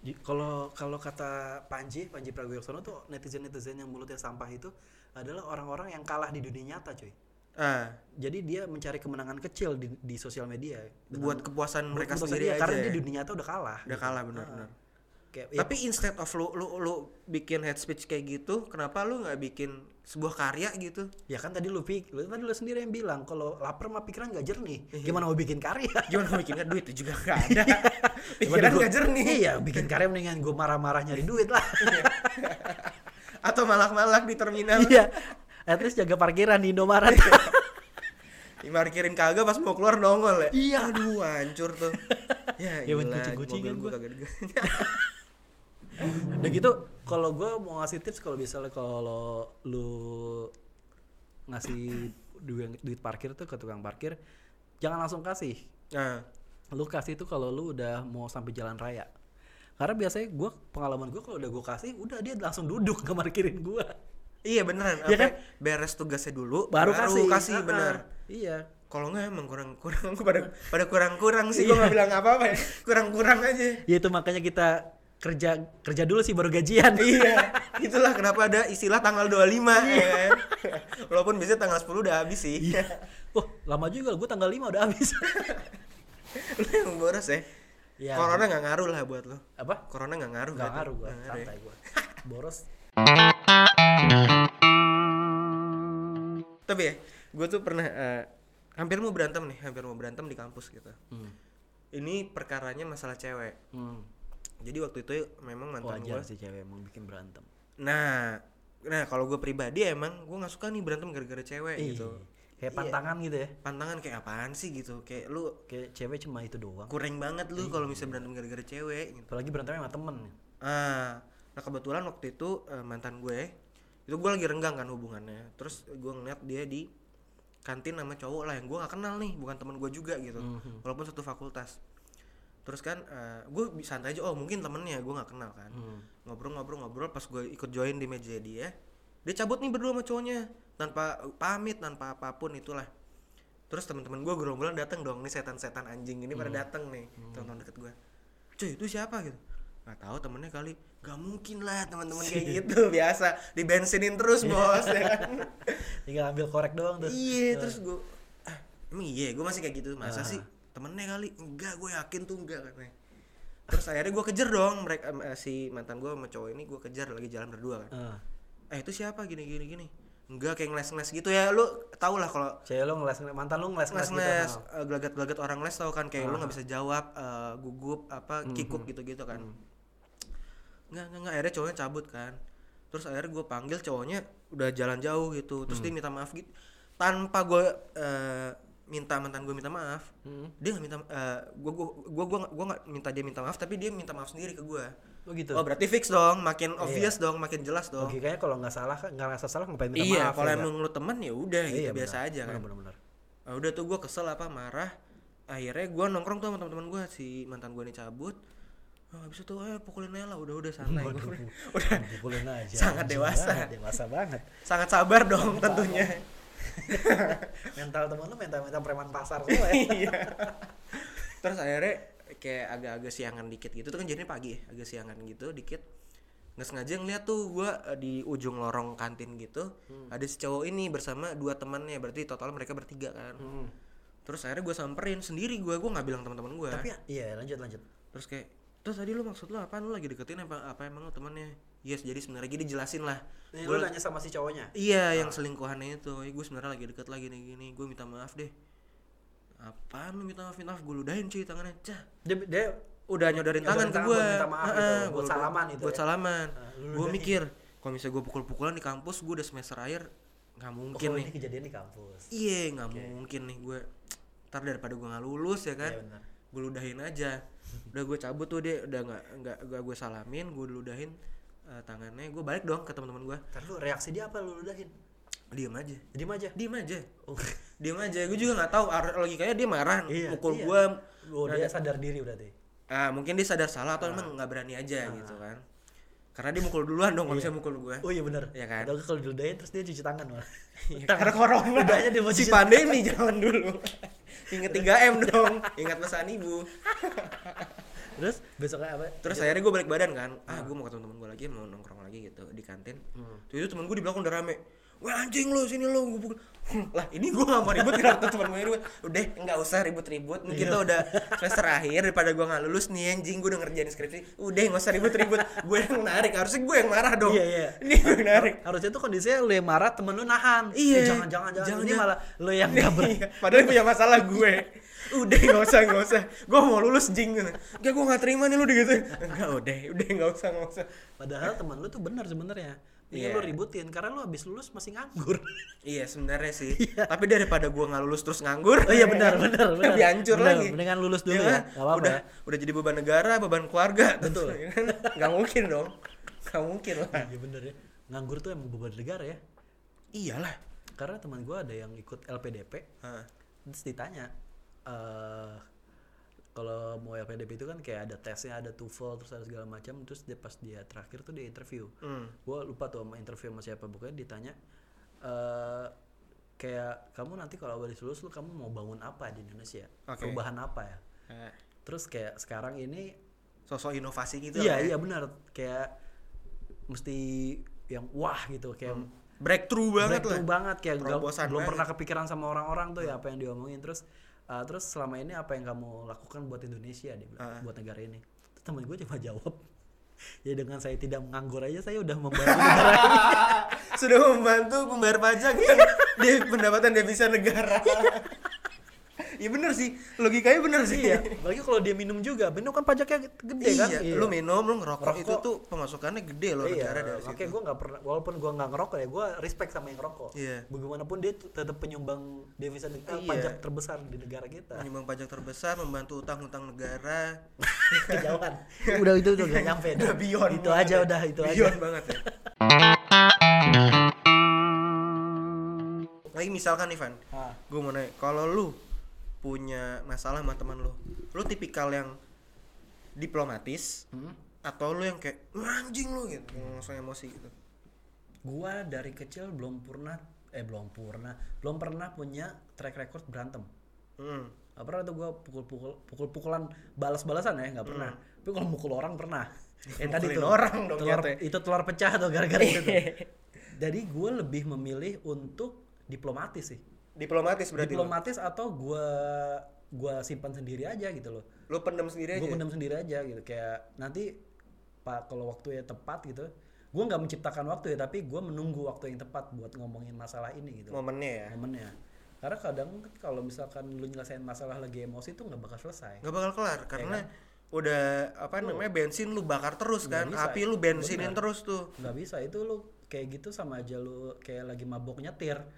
S2: Di- Kalau kalau kata Panji, Panji Pragiwaksono tuh netizen netizen yang mulutnya sampah itu adalah orang-orang yang kalah di dunia nyata, cuy.
S1: ah,
S2: Jadi dia mencari kemenangan kecil di, di sosial media.
S1: buat kepuasan mereka
S2: Menurut
S1: sendiri
S2: saya,
S1: aja.
S2: Karena
S1: ya.
S2: dia di Ah. dunia nyata udah kalah.
S1: Udah kalah benar-benar.
S2: Kayak, ya,
S1: Tapi instead of lu lu lu bikin head speech kayak gitu, kenapa lu nggak bikin sebuah karya gitu?
S2: ya kan tadi lu pik, lu tadi lu sendiri yang bilang kalau lapar mah pikiran gak jernih. Gimana mau bikin karya?
S1: Gimana bikinnya duit itu juga nggak ada.
S2: Daripada
S1: Pikiran
S2: gua-
S1: nggak jernih.
S2: Iya, bikin karya mendingan gue marah-marah nyari duit lah.
S1: Atau malak-malak di terminal.
S2: iya. At least jaga parkiran di Indomaret.
S1: Dimarkirin kagak pas mau keluar nongol ya.
S2: Iya.
S1: Aduh, hancur tuh. Ya, ya
S2: Ya, buat
S1: gila. Mobil
S2: kucing-kucingan
S1: gua
S2: gua.
S1: kagak diganggu.
S2: Udah gitu, kalau gue mau ngasih tips kalau misalnya kalau lu ngasih duit, duit parkir tuh ke tukang parkir, jangan langsung kasih.
S1: Nah,
S2: Lu kasih itu kalau lu udah mau sampai jalan raya. Karena biasanya gua pengalaman gue kalau udah gue kasih, udah dia langsung duduk ke parkirin gue.
S1: iya beneran. Apa,
S2: Iya kan?
S1: Beres tugasnya dulu,
S2: Baru, kasih.
S1: kasih
S2: Ah,
S1: bener.
S2: Iya.
S1: Kalau nggak emang kurang kurang pada pada kurang kurang
S2: Iya.
S1: sih. Gua nggak bilang apa-apa ya. Kurang kurang aja.
S2: Ya itu makanya kita kerja kerja dulu sih baru gajian.
S1: iya itulah kenapa ada istilah tanggal 25 ya kan? walaupun biasanya tanggal 10 udah habis sih
S2: Iya. Wah, lama juga gue tanggal 5 udah habis.
S1: lu yang boros ya
S2: Iya.
S1: corona nggak ngaruh lah buat lo
S2: Apa?
S1: corona nggak ngaruh
S2: Gak
S1: berarti.
S2: ngaruh gue,
S1: Nggak ya.
S2: santai gue. Boros
S1: tapi ya gue tuh pernah eh, hampir mau berantem nih hampir mau berantem di kampus gitu
S2: Hmm.
S1: ini perkaranya masalah cewek
S2: Hmm.
S1: jadi waktu itu memang mantan gue
S2: Wajar sih cewek emang bikin berantem.
S1: nah nah kalau gue pribadi emang gue nggak suka nih berantem gara-gara cewek
S2: Ih,
S1: gitu
S2: Kayak
S1: Iya.
S2: pantangan gitu ya.
S1: pantangan kayak apaan sih gitu kayak lu
S2: Kayak cewek cuma itu doang.
S1: kurang banget lu kalau misalnya berantem gara-gara cewek gitu
S2: Apalagi berantem sama temen.
S1: Ah, nah kebetulan waktu itu eh, mantan gue itu gue lagi renggang kan hubungannya. Terus gue ngeliat dia di kantin sama cowok lah yang gue gak kenal nih, bukan teman gue juga gitu. Walaupun satu fakultas. Terus kan eh, gue bi- santai aja, oh mungkin temennya gue gak kenal kan. Ngobrol-ngobrol-ngobrol pas gue ikut join di meja dia, dia cabut nih berdua sama cowoknya tanpa pamit, tanpa apapun itulah. Terus teman-teman gue gerombolan datang dong, nih setan-setan anjing ini pada datang nih, tonton deket gue. Cuy, itu siapa gitu? Gak tahu temennya kali. Gak mungkin lah teman-teman kayak gitu biasa dibensinin terus bos ya kan.
S2: Tinggal ambil korek doang tuh.
S1: Iya, terus gue ah, emang iya, gue masih kayak gitu. Masa sih temennya kali? Enggak, gue yakin tuh enggak katanya. Terus akhirnya gue kejar dong mereka em, eh, si mantan gue sama cowok ini gue kejar lagi jalan berdua kan.
S2: Ah,
S1: Eh itu siapa gini gini gini? Enggak kayak ngeles-ngeles gitu ya. Lu tau lah kalau
S2: cewek lo ngeles mantan lo ngeles ngeles gitu.
S1: les-les
S2: nah.
S1: eh, gelagat-gelagat orang les tau kan kayak lu nggak bisa jawab eh, gugup apa
S2: Mhm.
S1: kikuk gitu-gitu kan nggak nggak nggak akhirnya cowoknya cabut kan terus akhirnya gue panggil cowoknya udah jalan jauh gitu terus
S2: Mhm.
S1: dia minta maaf gitu tanpa gue minta mantan gue minta maaf
S2: Mhm.
S1: dia nggak minta eh, gue gue gue gue nggak minta dia minta maaf tapi dia minta maaf sendiri ke gue
S2: Oh gitu.
S1: oh berarti fix dong makin
S2: Iya.
S1: obvious dong makin jelas dong
S2: Logikanya kalau nggak salah kan nggak rasa salah ngapain minta
S1: iya
S2: maaf.
S1: kalau
S2: ya nggak?
S1: emang lu temen ya udah gitu
S2: Iya,
S1: biasa
S2: benar.
S1: aja kan
S2: Benar benar benar.
S1: Ah, udah tuh gue kesel apa marah akhirnya gue nongkrong tuh sama teman-teman gue si mantan gue ini cabut ah, habis itu eh pukulin aja lah udah udah santai Nah, Gua udah, udah
S2: Dipukulin aja.
S1: Sangat
S2: Anjing
S1: dewasa.
S2: banget, Dewasa banget.
S1: sangat sabar dong tentunya
S2: mental temen lu mental mental preman pasar semua ya
S1: Iya. Terus akhirnya kayak agak-agak siangan dikit gitu tuh kan jadinya pagi ya, agak siangan gitu dikit nggak sengaja ngeliat tuh gua eh, di ujung lorong kantin gitu ada si cowok ini bersama dua temannya berarti total mereka bertiga kan
S2: Hmm.
S1: terus akhirnya gua samperin sendiri gua gua nggak bilang teman-teman gua
S2: tapi iya lanjut lanjut
S1: terus kayak terus tadi lu maksud lu apa lu lagi deketin apa apa emang lu temannya yes jadi sebenarnya gini jelasin lah
S2: Nih,
S1: Gua-
S2: lu nanya sama si cowoknya
S1: Iya, yang selingkuhannya itu. gue sebenarnya lagi deket lagi nih gini. Gue minta maaf deh. Apaan lu minta maaf? Minta maaf gue ludahin cuy tangannya. Cah.
S2: dia, dia
S1: Udah nyodorin tangan ke
S2: Nyodorin tangan
S1: gue.
S2: buat Iya, minta maaf gitu, buat salaman gitu
S1: Buat
S2: ya.
S1: salaman.
S2: lu
S1: gue mikir kalau misalnya gue pukul-pukulan di kampus, gue udah semester akhir nggak mungkin
S2: oh,
S1: nih.
S2: ini kejadian di kampus
S1: Iya, nggak mungkin nih gue. Ntar daripada gue nggak lulus ya kan.
S2: Iya, benar.
S1: gue ludahin aja. Udah gue cabut tuh deh. Udah nggak nggak nggak gue salamin, gue ludahin eh, tangannya. Gue balik dong ke teman-teman gue.
S2: Ntar lu reaksi dia apa lu ludahin
S1: Diam aja.
S2: diem aja
S1: Diam aja.
S2: oh,
S1: diem aja gue juga nggak tahu ar- logikanya dia marah
S2: Iya,
S1: mukul
S2: iya.
S1: gue
S2: oh, dia sadar diri berarti
S1: ah mungkin dia sadar salah atau emang nggak berani aja gitu kan karena dia mukul duluan dong kalau bisa mukul gue
S2: oh Ah. iya benar
S1: Iya kan?
S2: padahal kalau diludahin terus dia cuci tangan malah
S1: karena corona
S2: Udahnya Iya kan? dia mau
S1: si
S2: cuci-
S1: pandemi jangan dulu inget 3 m dong ingat pesan ibu
S2: terus besoknya apa
S1: terus akhirnya gue balik badan kan
S2: Hmm.
S1: ah gue mau ketemu temen gue lagi mau nongkrong lagi gitu di kantin Terus itu temen gue di belakang udah rame Wah anjing lu sini lu gue pukul. "Hmm, lah ini gue gak mau ribut karena temen gue ribut. Udah nggak usah ribut-ribut. Nih
S2: Iya.
S1: kita udah semester akhir daripada gue nggak lulus nih anjing gue udah ngerjain skripsi. Udah nggak usah ribut-ribut. gue yang narik harusnya gue yang marah dong.
S2: Iya, iya.
S1: Ini gue yang narik.
S2: harusnya tuh kondisinya lu yang marah temen lu nahan
S1: Iya.
S2: Eh, jangan jangan jangan,
S1: Jangan,
S2: ini
S1: jangan.
S2: malah lu yang nggak ber
S1: Iya, Padahal punya masalah gue. Udah nggak usah nggak usah. Gue mau lulus jing. Gak gue nggak terima nih lu digituin. Enggak udah udah nggak usah nggak usah.
S2: padahal temen lu tuh benar sebenarnya Mending
S1: Iya.
S2: lu ributin karena lu habis lulus masih nganggur
S1: Iya sebenarnya sih. Tapi daripada gua nggak lulus terus nganggur.
S2: Oh iya, benar, benar, benar.
S1: Lebih hancur
S2: Benar,
S1: lagi.
S2: mendingan lulus
S1: Iya
S2: dulu ya,
S1: kan?
S2: nggak apa-apa
S1: udah
S2: ya.
S1: udah jadi beban negara, beban keluarga.
S2: Betul.
S1: Iya kan? Nggak mungkin dong. Nggak mungkin lah.
S2: iya bener ya nganggur tuh emang beban negara ya
S1: Iyalah.
S2: karena teman gue ada yang ikut LPDP
S1: Hah.
S2: terus ditanya eh kalau mau LPDP itu kan kayak ada tesnya ada TOEFL terus ada segala macam terus dia pas dia terakhir tuh dia interview
S1: Hmm.
S2: gue lupa tuh sama interview sama siapa pokoknya ditanya eh kayak kamu nanti kalau habis lulus lu kamu mau bangun apa di Indonesia
S1: Oke.
S2: perubahan apa ya
S1: Eh,
S2: terus kayak sekarang ini
S1: Sosok inovasi gitu. lah
S2: iya
S1: ya.
S2: iya benar kayak mesti yang wah gitu kayak
S1: Breakthrough Hmm. banget
S2: breakthrough
S1: lah.
S2: banget kayak nggak-
S1: Terobosan
S2: belum
S1: banget.
S2: pernah kepikiran sama orang-orang tuh ya apa yang diomongin terus uh, terus selama ini apa yang kamu lakukan buat Indonesia dia bilang,
S1: Ah.
S2: buat negara ini terus temen gue cuma jawab ya dengan saya tidak menganggur aja saya udah membantu negara ini."
S1: Sudah membantu membayar pajak dan
S2: Iya.
S1: di pendapatan devisa negara. Iya bener sih, logikanya bener sih.
S2: iya apalagi kalau dia minum juga minum kan pajaknya gede kan
S1: Iya, lu minum, lu ngerokok
S2: Rokok.
S1: itu tuh pemasukannya gede loh
S2: Iya,
S1: negara dari situ.
S2: makanya gue nggak pernah, walaupun gue nggak ngerokok ya, gue respect sama yang ngerokok.
S1: Iya.
S2: Bagaimanapun dia tuh tetap penyumbang devisa neg- eh,
S1: Iya.
S2: pajak terbesar di negara kita.
S1: penyumbang pajak terbesar membantu utang-utang negara
S2: Kejauhan. udah itu udah nggak nyampe.
S1: udah beyond
S2: Itu
S1: banget
S2: aja
S1: ya.
S2: udah itu aja.
S1: beyond banget ya lagi misalkan nih Van
S2: Ah.
S1: gue mau nanya kalau lu punya masalah sama teman lu lu tipikal yang diplomatis atau lu yang kayak "Wah, anjing lu gitu yang langsung emosi gitu
S2: gua dari kecil belum pernah eh belum pernah belum pernah punya track record berantem
S1: Mm.
S2: nggak pernah tuh gua pukul-pukul pukul-pukulan balas-balasan ya nggak pernah tapi kalau mukul orang pernah yang
S1: Hmm.
S2: tadi
S1: Mukulin
S2: tuh
S1: orang dong
S2: telur,
S1: nyatanya.
S2: itu telur pecah tuh gara-gara itu tuh. jadi gua lebih memilih untuk diplomatis sih
S1: diplomatis berarti lu
S2: diplomatis atau gua gua simpan sendiri aja gitu loh
S1: lu pendem sendiri aja
S2: gue pendam sendiri aja gitu kayak nanti pak kalau waktu ya tepat gitu gue nggak menciptakan waktu ya tapi gue menunggu waktu yang tepat buat ngomongin masalah ini gitu
S1: momennya ya
S2: momennya karena kadang kan kalau misalkan lu nyelesain masalah lagi emosi tuh nggak bakal selesai
S1: nggak bakal kelar karena udah apa namanya bensin Ya kan? lu bakar terus kan
S2: bisa,
S1: api lu bensinin terus tuh
S2: nggak bisa itu lu kayak gitu sama aja lu kayak lagi mabok nyetir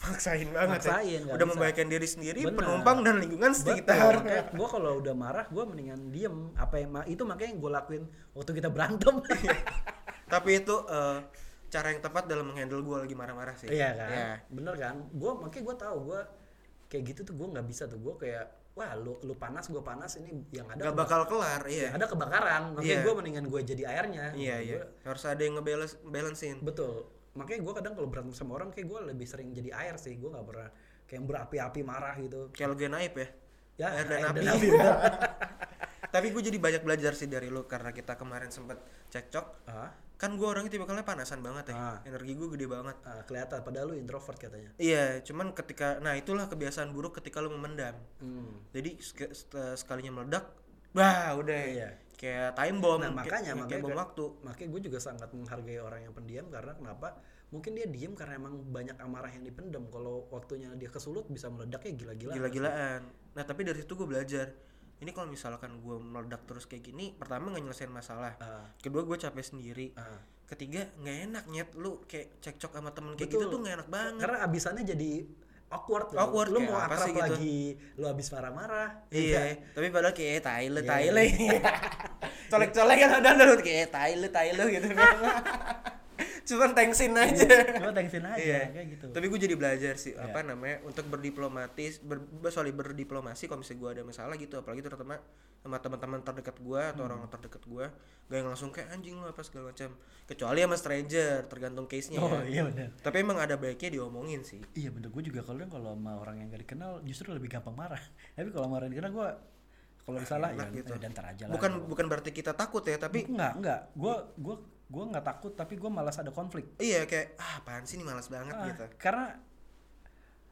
S1: maksain banget ya.
S2: Maksain, nggak
S1: udah
S2: bisa.
S1: membahayakan diri sendiri
S2: Bener.
S1: penumpang dan lingkungan sekitar
S2: gue kalau udah marah gue mendingan diem apa yang ma- itu makanya yang gue lakuin waktu kita berantem
S1: tapi itu eh, cara yang tepat dalam menghandle gue lagi marah-marah sih
S2: Iya kan?
S1: Iya.
S2: Bener kan? Gua makanya gua tahu gua kayak gitu tuh gua nggak bisa tuh gua kayak wah lu lu panas gua panas ini yang ada
S1: nggak bakal kelar iya
S2: yang ada kebakaran. Makanya
S1: Iya.
S2: gua mendingan gua jadi airnya.
S1: iya iya
S2: Gua-
S1: harus ada yang ngebalance balancein
S2: Betul. makanya gue kadang kalau berantem sama orang kayak gue lebih sering jadi air sih gue nggak pernah kayak yang berapi-api marah gitu
S1: Kayak lo gue naib ya.
S2: ya
S1: Air dan api.
S2: bener.
S1: Tapi gue jadi banyak belajar sih dari lo karena kita kemarin sempet cekcok.
S2: ah,
S1: Kan gue orangnya tipe kalian panasan banget ya.
S2: Ah.
S1: Energi gue gede banget.
S2: ah, kelihatan padahal lu introvert katanya
S1: Iya, cuman ketika nah itulah kebiasaan buruk ketika lo memendam.
S2: hmm.
S1: Jadi sek- se- sekalinya meledak, bah udah
S2: Iya.
S1: kayak time bomb.
S2: Nah,
S1: kayak-
S2: makanya-
S1: kayak
S2: makanya
S1: bom
S2: kan-
S1: waktu.
S2: makanya gue juga sangat menghargai orang yang pendiam karena kenapa mungkin dia diem karena emang banyak amarah yang dipendam kalau waktunya dia kesulut bisa meledaknya gila-gila
S1: gila-gilaan. Nah tapi dari situ gue belajar. Ini kalau misalkan gue meledak terus kayak gini, pertama nggak nyelesain masalah.
S2: Ah,
S1: Kedua gue capek sendiri.
S2: ah.
S1: Ketiga nggak enak nyet lu kayak cekcok sama temen kayak
S2: Betul.
S1: gitu tuh nggak enak banget.
S2: karena abisannya jadi awkward loh.
S1: Awkward,
S2: lu
S1: kayak
S2: mau
S1: apa sih
S2: akrab
S1: gitu?
S2: lagi lu abis marah-marah gitu.
S1: Iya, tapi padahal kayak tai lu, tai
S2: Iya.
S1: lu. Colek-colek kan ada lu kayak tai lu, tai lu gitu. Cuman thanksin aja.
S2: cuma thanksin aja
S1: Iya.
S2: Iya. kayak gitu Iya.
S1: Tapi gue jadi belajar sih apa namanya untuk berdiplomatis, ber, ber- sorry berdiplomasi kalau misalnya gue ada masalah gitu, apalagi terutama sama teman-teman terdekat gue atau
S2: Hmm.
S1: orang terdekat gue, gak yang langsung kayak anjing lu apa segala macam. Kecuali sama stranger, tergantung case-nya.
S2: oh
S1: ya.
S2: iya benar
S1: Tapi emang ada baiknya diomongin sih.
S2: iya bener gue juga kalau kalau sama orang yang gak dikenal justru lebih gampang marah tapi kalau sama orang yang dikenal gue kalau salah ya
S1: enak gitu.
S2: eh, dan ntar aja lah
S1: Bukan bukan berarti kita takut ya, tapi
S2: enggak enggak gue gue gue nggak takut tapi gue malas ada konflik
S1: iya kayak ah apaan sih ini malas banget
S2: Ah,
S1: gitu.
S2: karena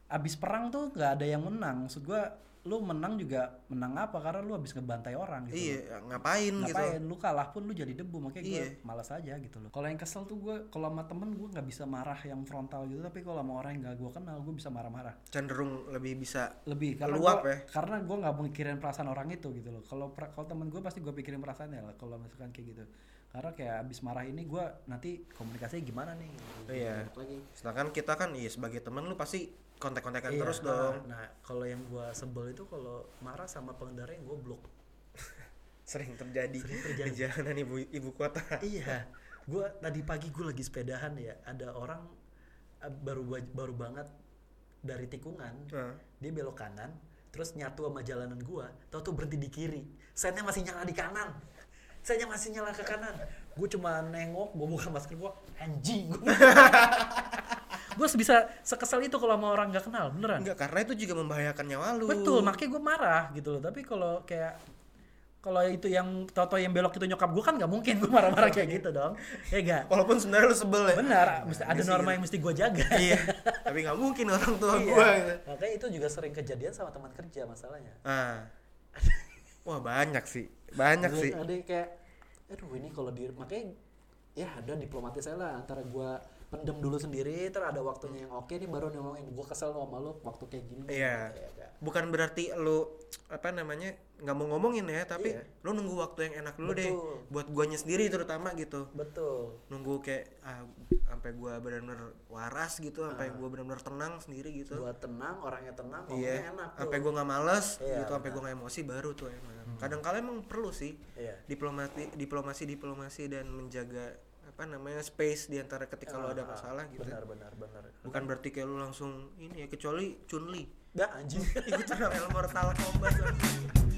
S2: abis perang tuh nggak ada yang menang maksud gue lu menang juga menang apa karena lu abis ngebantai orang gitu
S1: Iya, ngapain, gitu.
S2: ngapain lu kalah pun lu jadi debu makanya gue
S1: Iya.
S2: malas aja gitu loh kalau yang kesel tuh gue kalau sama temen gue nggak bisa marah yang frontal gitu tapi kalau sama orang yang nggak gue kenal gue bisa marah-marah
S1: Cenderung lebih bisa
S2: lebih karena
S1: Meluap ya.
S2: gua, karena gue nggak mikirin perasaan orang itu gitu loh kalau pra- kalau temen gue pasti gue pikirin perasaannya lah kalau misalkan kayak gitu karena kayak abis marah ini gue nanti komunikasinya gimana nih
S1: Iya. Sedangkan kita kan iya sebagai teman lu pasti kontak-kontakan
S2: Iya,
S1: Kan terus
S2: nah,
S1: dong.
S2: nah kalau yang gue sebel itu kalau marah sama pengendara yang gue blok
S1: sering terjadi, di jalanan ibu ibu kota.
S2: iya gue tadi pagi gue lagi sepedahan ya ada orang eh, baru gua- baru banget dari tikungan
S1: Nah,
S2: dia belok kanan terus nyatu sama jalanan gua tau tuh berhenti di kiri sennya masih nyala di kanan sennya masih nyala ke kanan gue cuma nengok gue buka masker gua anjing gue gue bisa sekesal itu kalau sama orang nggak kenal beneran
S1: enggak karena itu juga membahayakan nyawa lu.
S2: betul makanya gue marah gitu loh tapi kalau kayak kalau itu yang toto yang belok itu nyokap gue kan nggak mungkin gue marah-marah kayak gitu dong ya enggak
S1: Walaupun sebenarnya lu sebel ya.
S2: benar mesti ada
S1: ini sih
S2: norma
S1: gitu.
S2: yang mesti gue jaga
S1: iya, tapi nggak mungkin orang tua
S2: Iya.
S1: gua. gitu.
S2: makanya itu juga sering kejadian sama teman kerja masalahnya
S1: Ah. Wah, banyak sih. Banyak
S2: Ada-
S1: sih.
S2: Ada yang kayak, aduh ini kalau di makanya ya ada diplomatis aja lah antara gua pendem dulu sendiri, ter ada waktunya yang oke nih baru ngomongin gua kesel sama lu waktu kayak gini.
S1: Iya.
S2: Gitu ya, Kak.
S1: Bukan berarti lu apa namanya nggak mau ngomongin ya, tapi
S2: Iya.
S1: lu nunggu waktu yang enak dulu deh
S2: Betul.
S1: buat guanya sendiri terutama gitu.
S2: Betul.
S1: Nunggu kayak ah, sampai gua benar-benar waras gitu,
S2: Ah.
S1: sampai gua benar-benar tenang sendiri gitu.
S2: Gua tenang, orangnya tenang,
S1: Iya,
S2: ngomongnya enak tuh.
S1: sampai gue nggak males
S2: Iya,
S1: gitu, sampai gue nggak emosi baru tuh emang. Kadang kala emang perlu sih
S2: Iya.
S1: diplomati, diplomasi, diplomasi dan menjaga apa namanya space di antara ketika lo
S2: Ah.
S1: ada masalah gitu.
S2: Benar, benar, benar.
S1: Bukan berarti kayak lo langsung ini ya, kecuali Chun Li.
S2: Dah anjing.
S1: Itu El Mortal Kombat.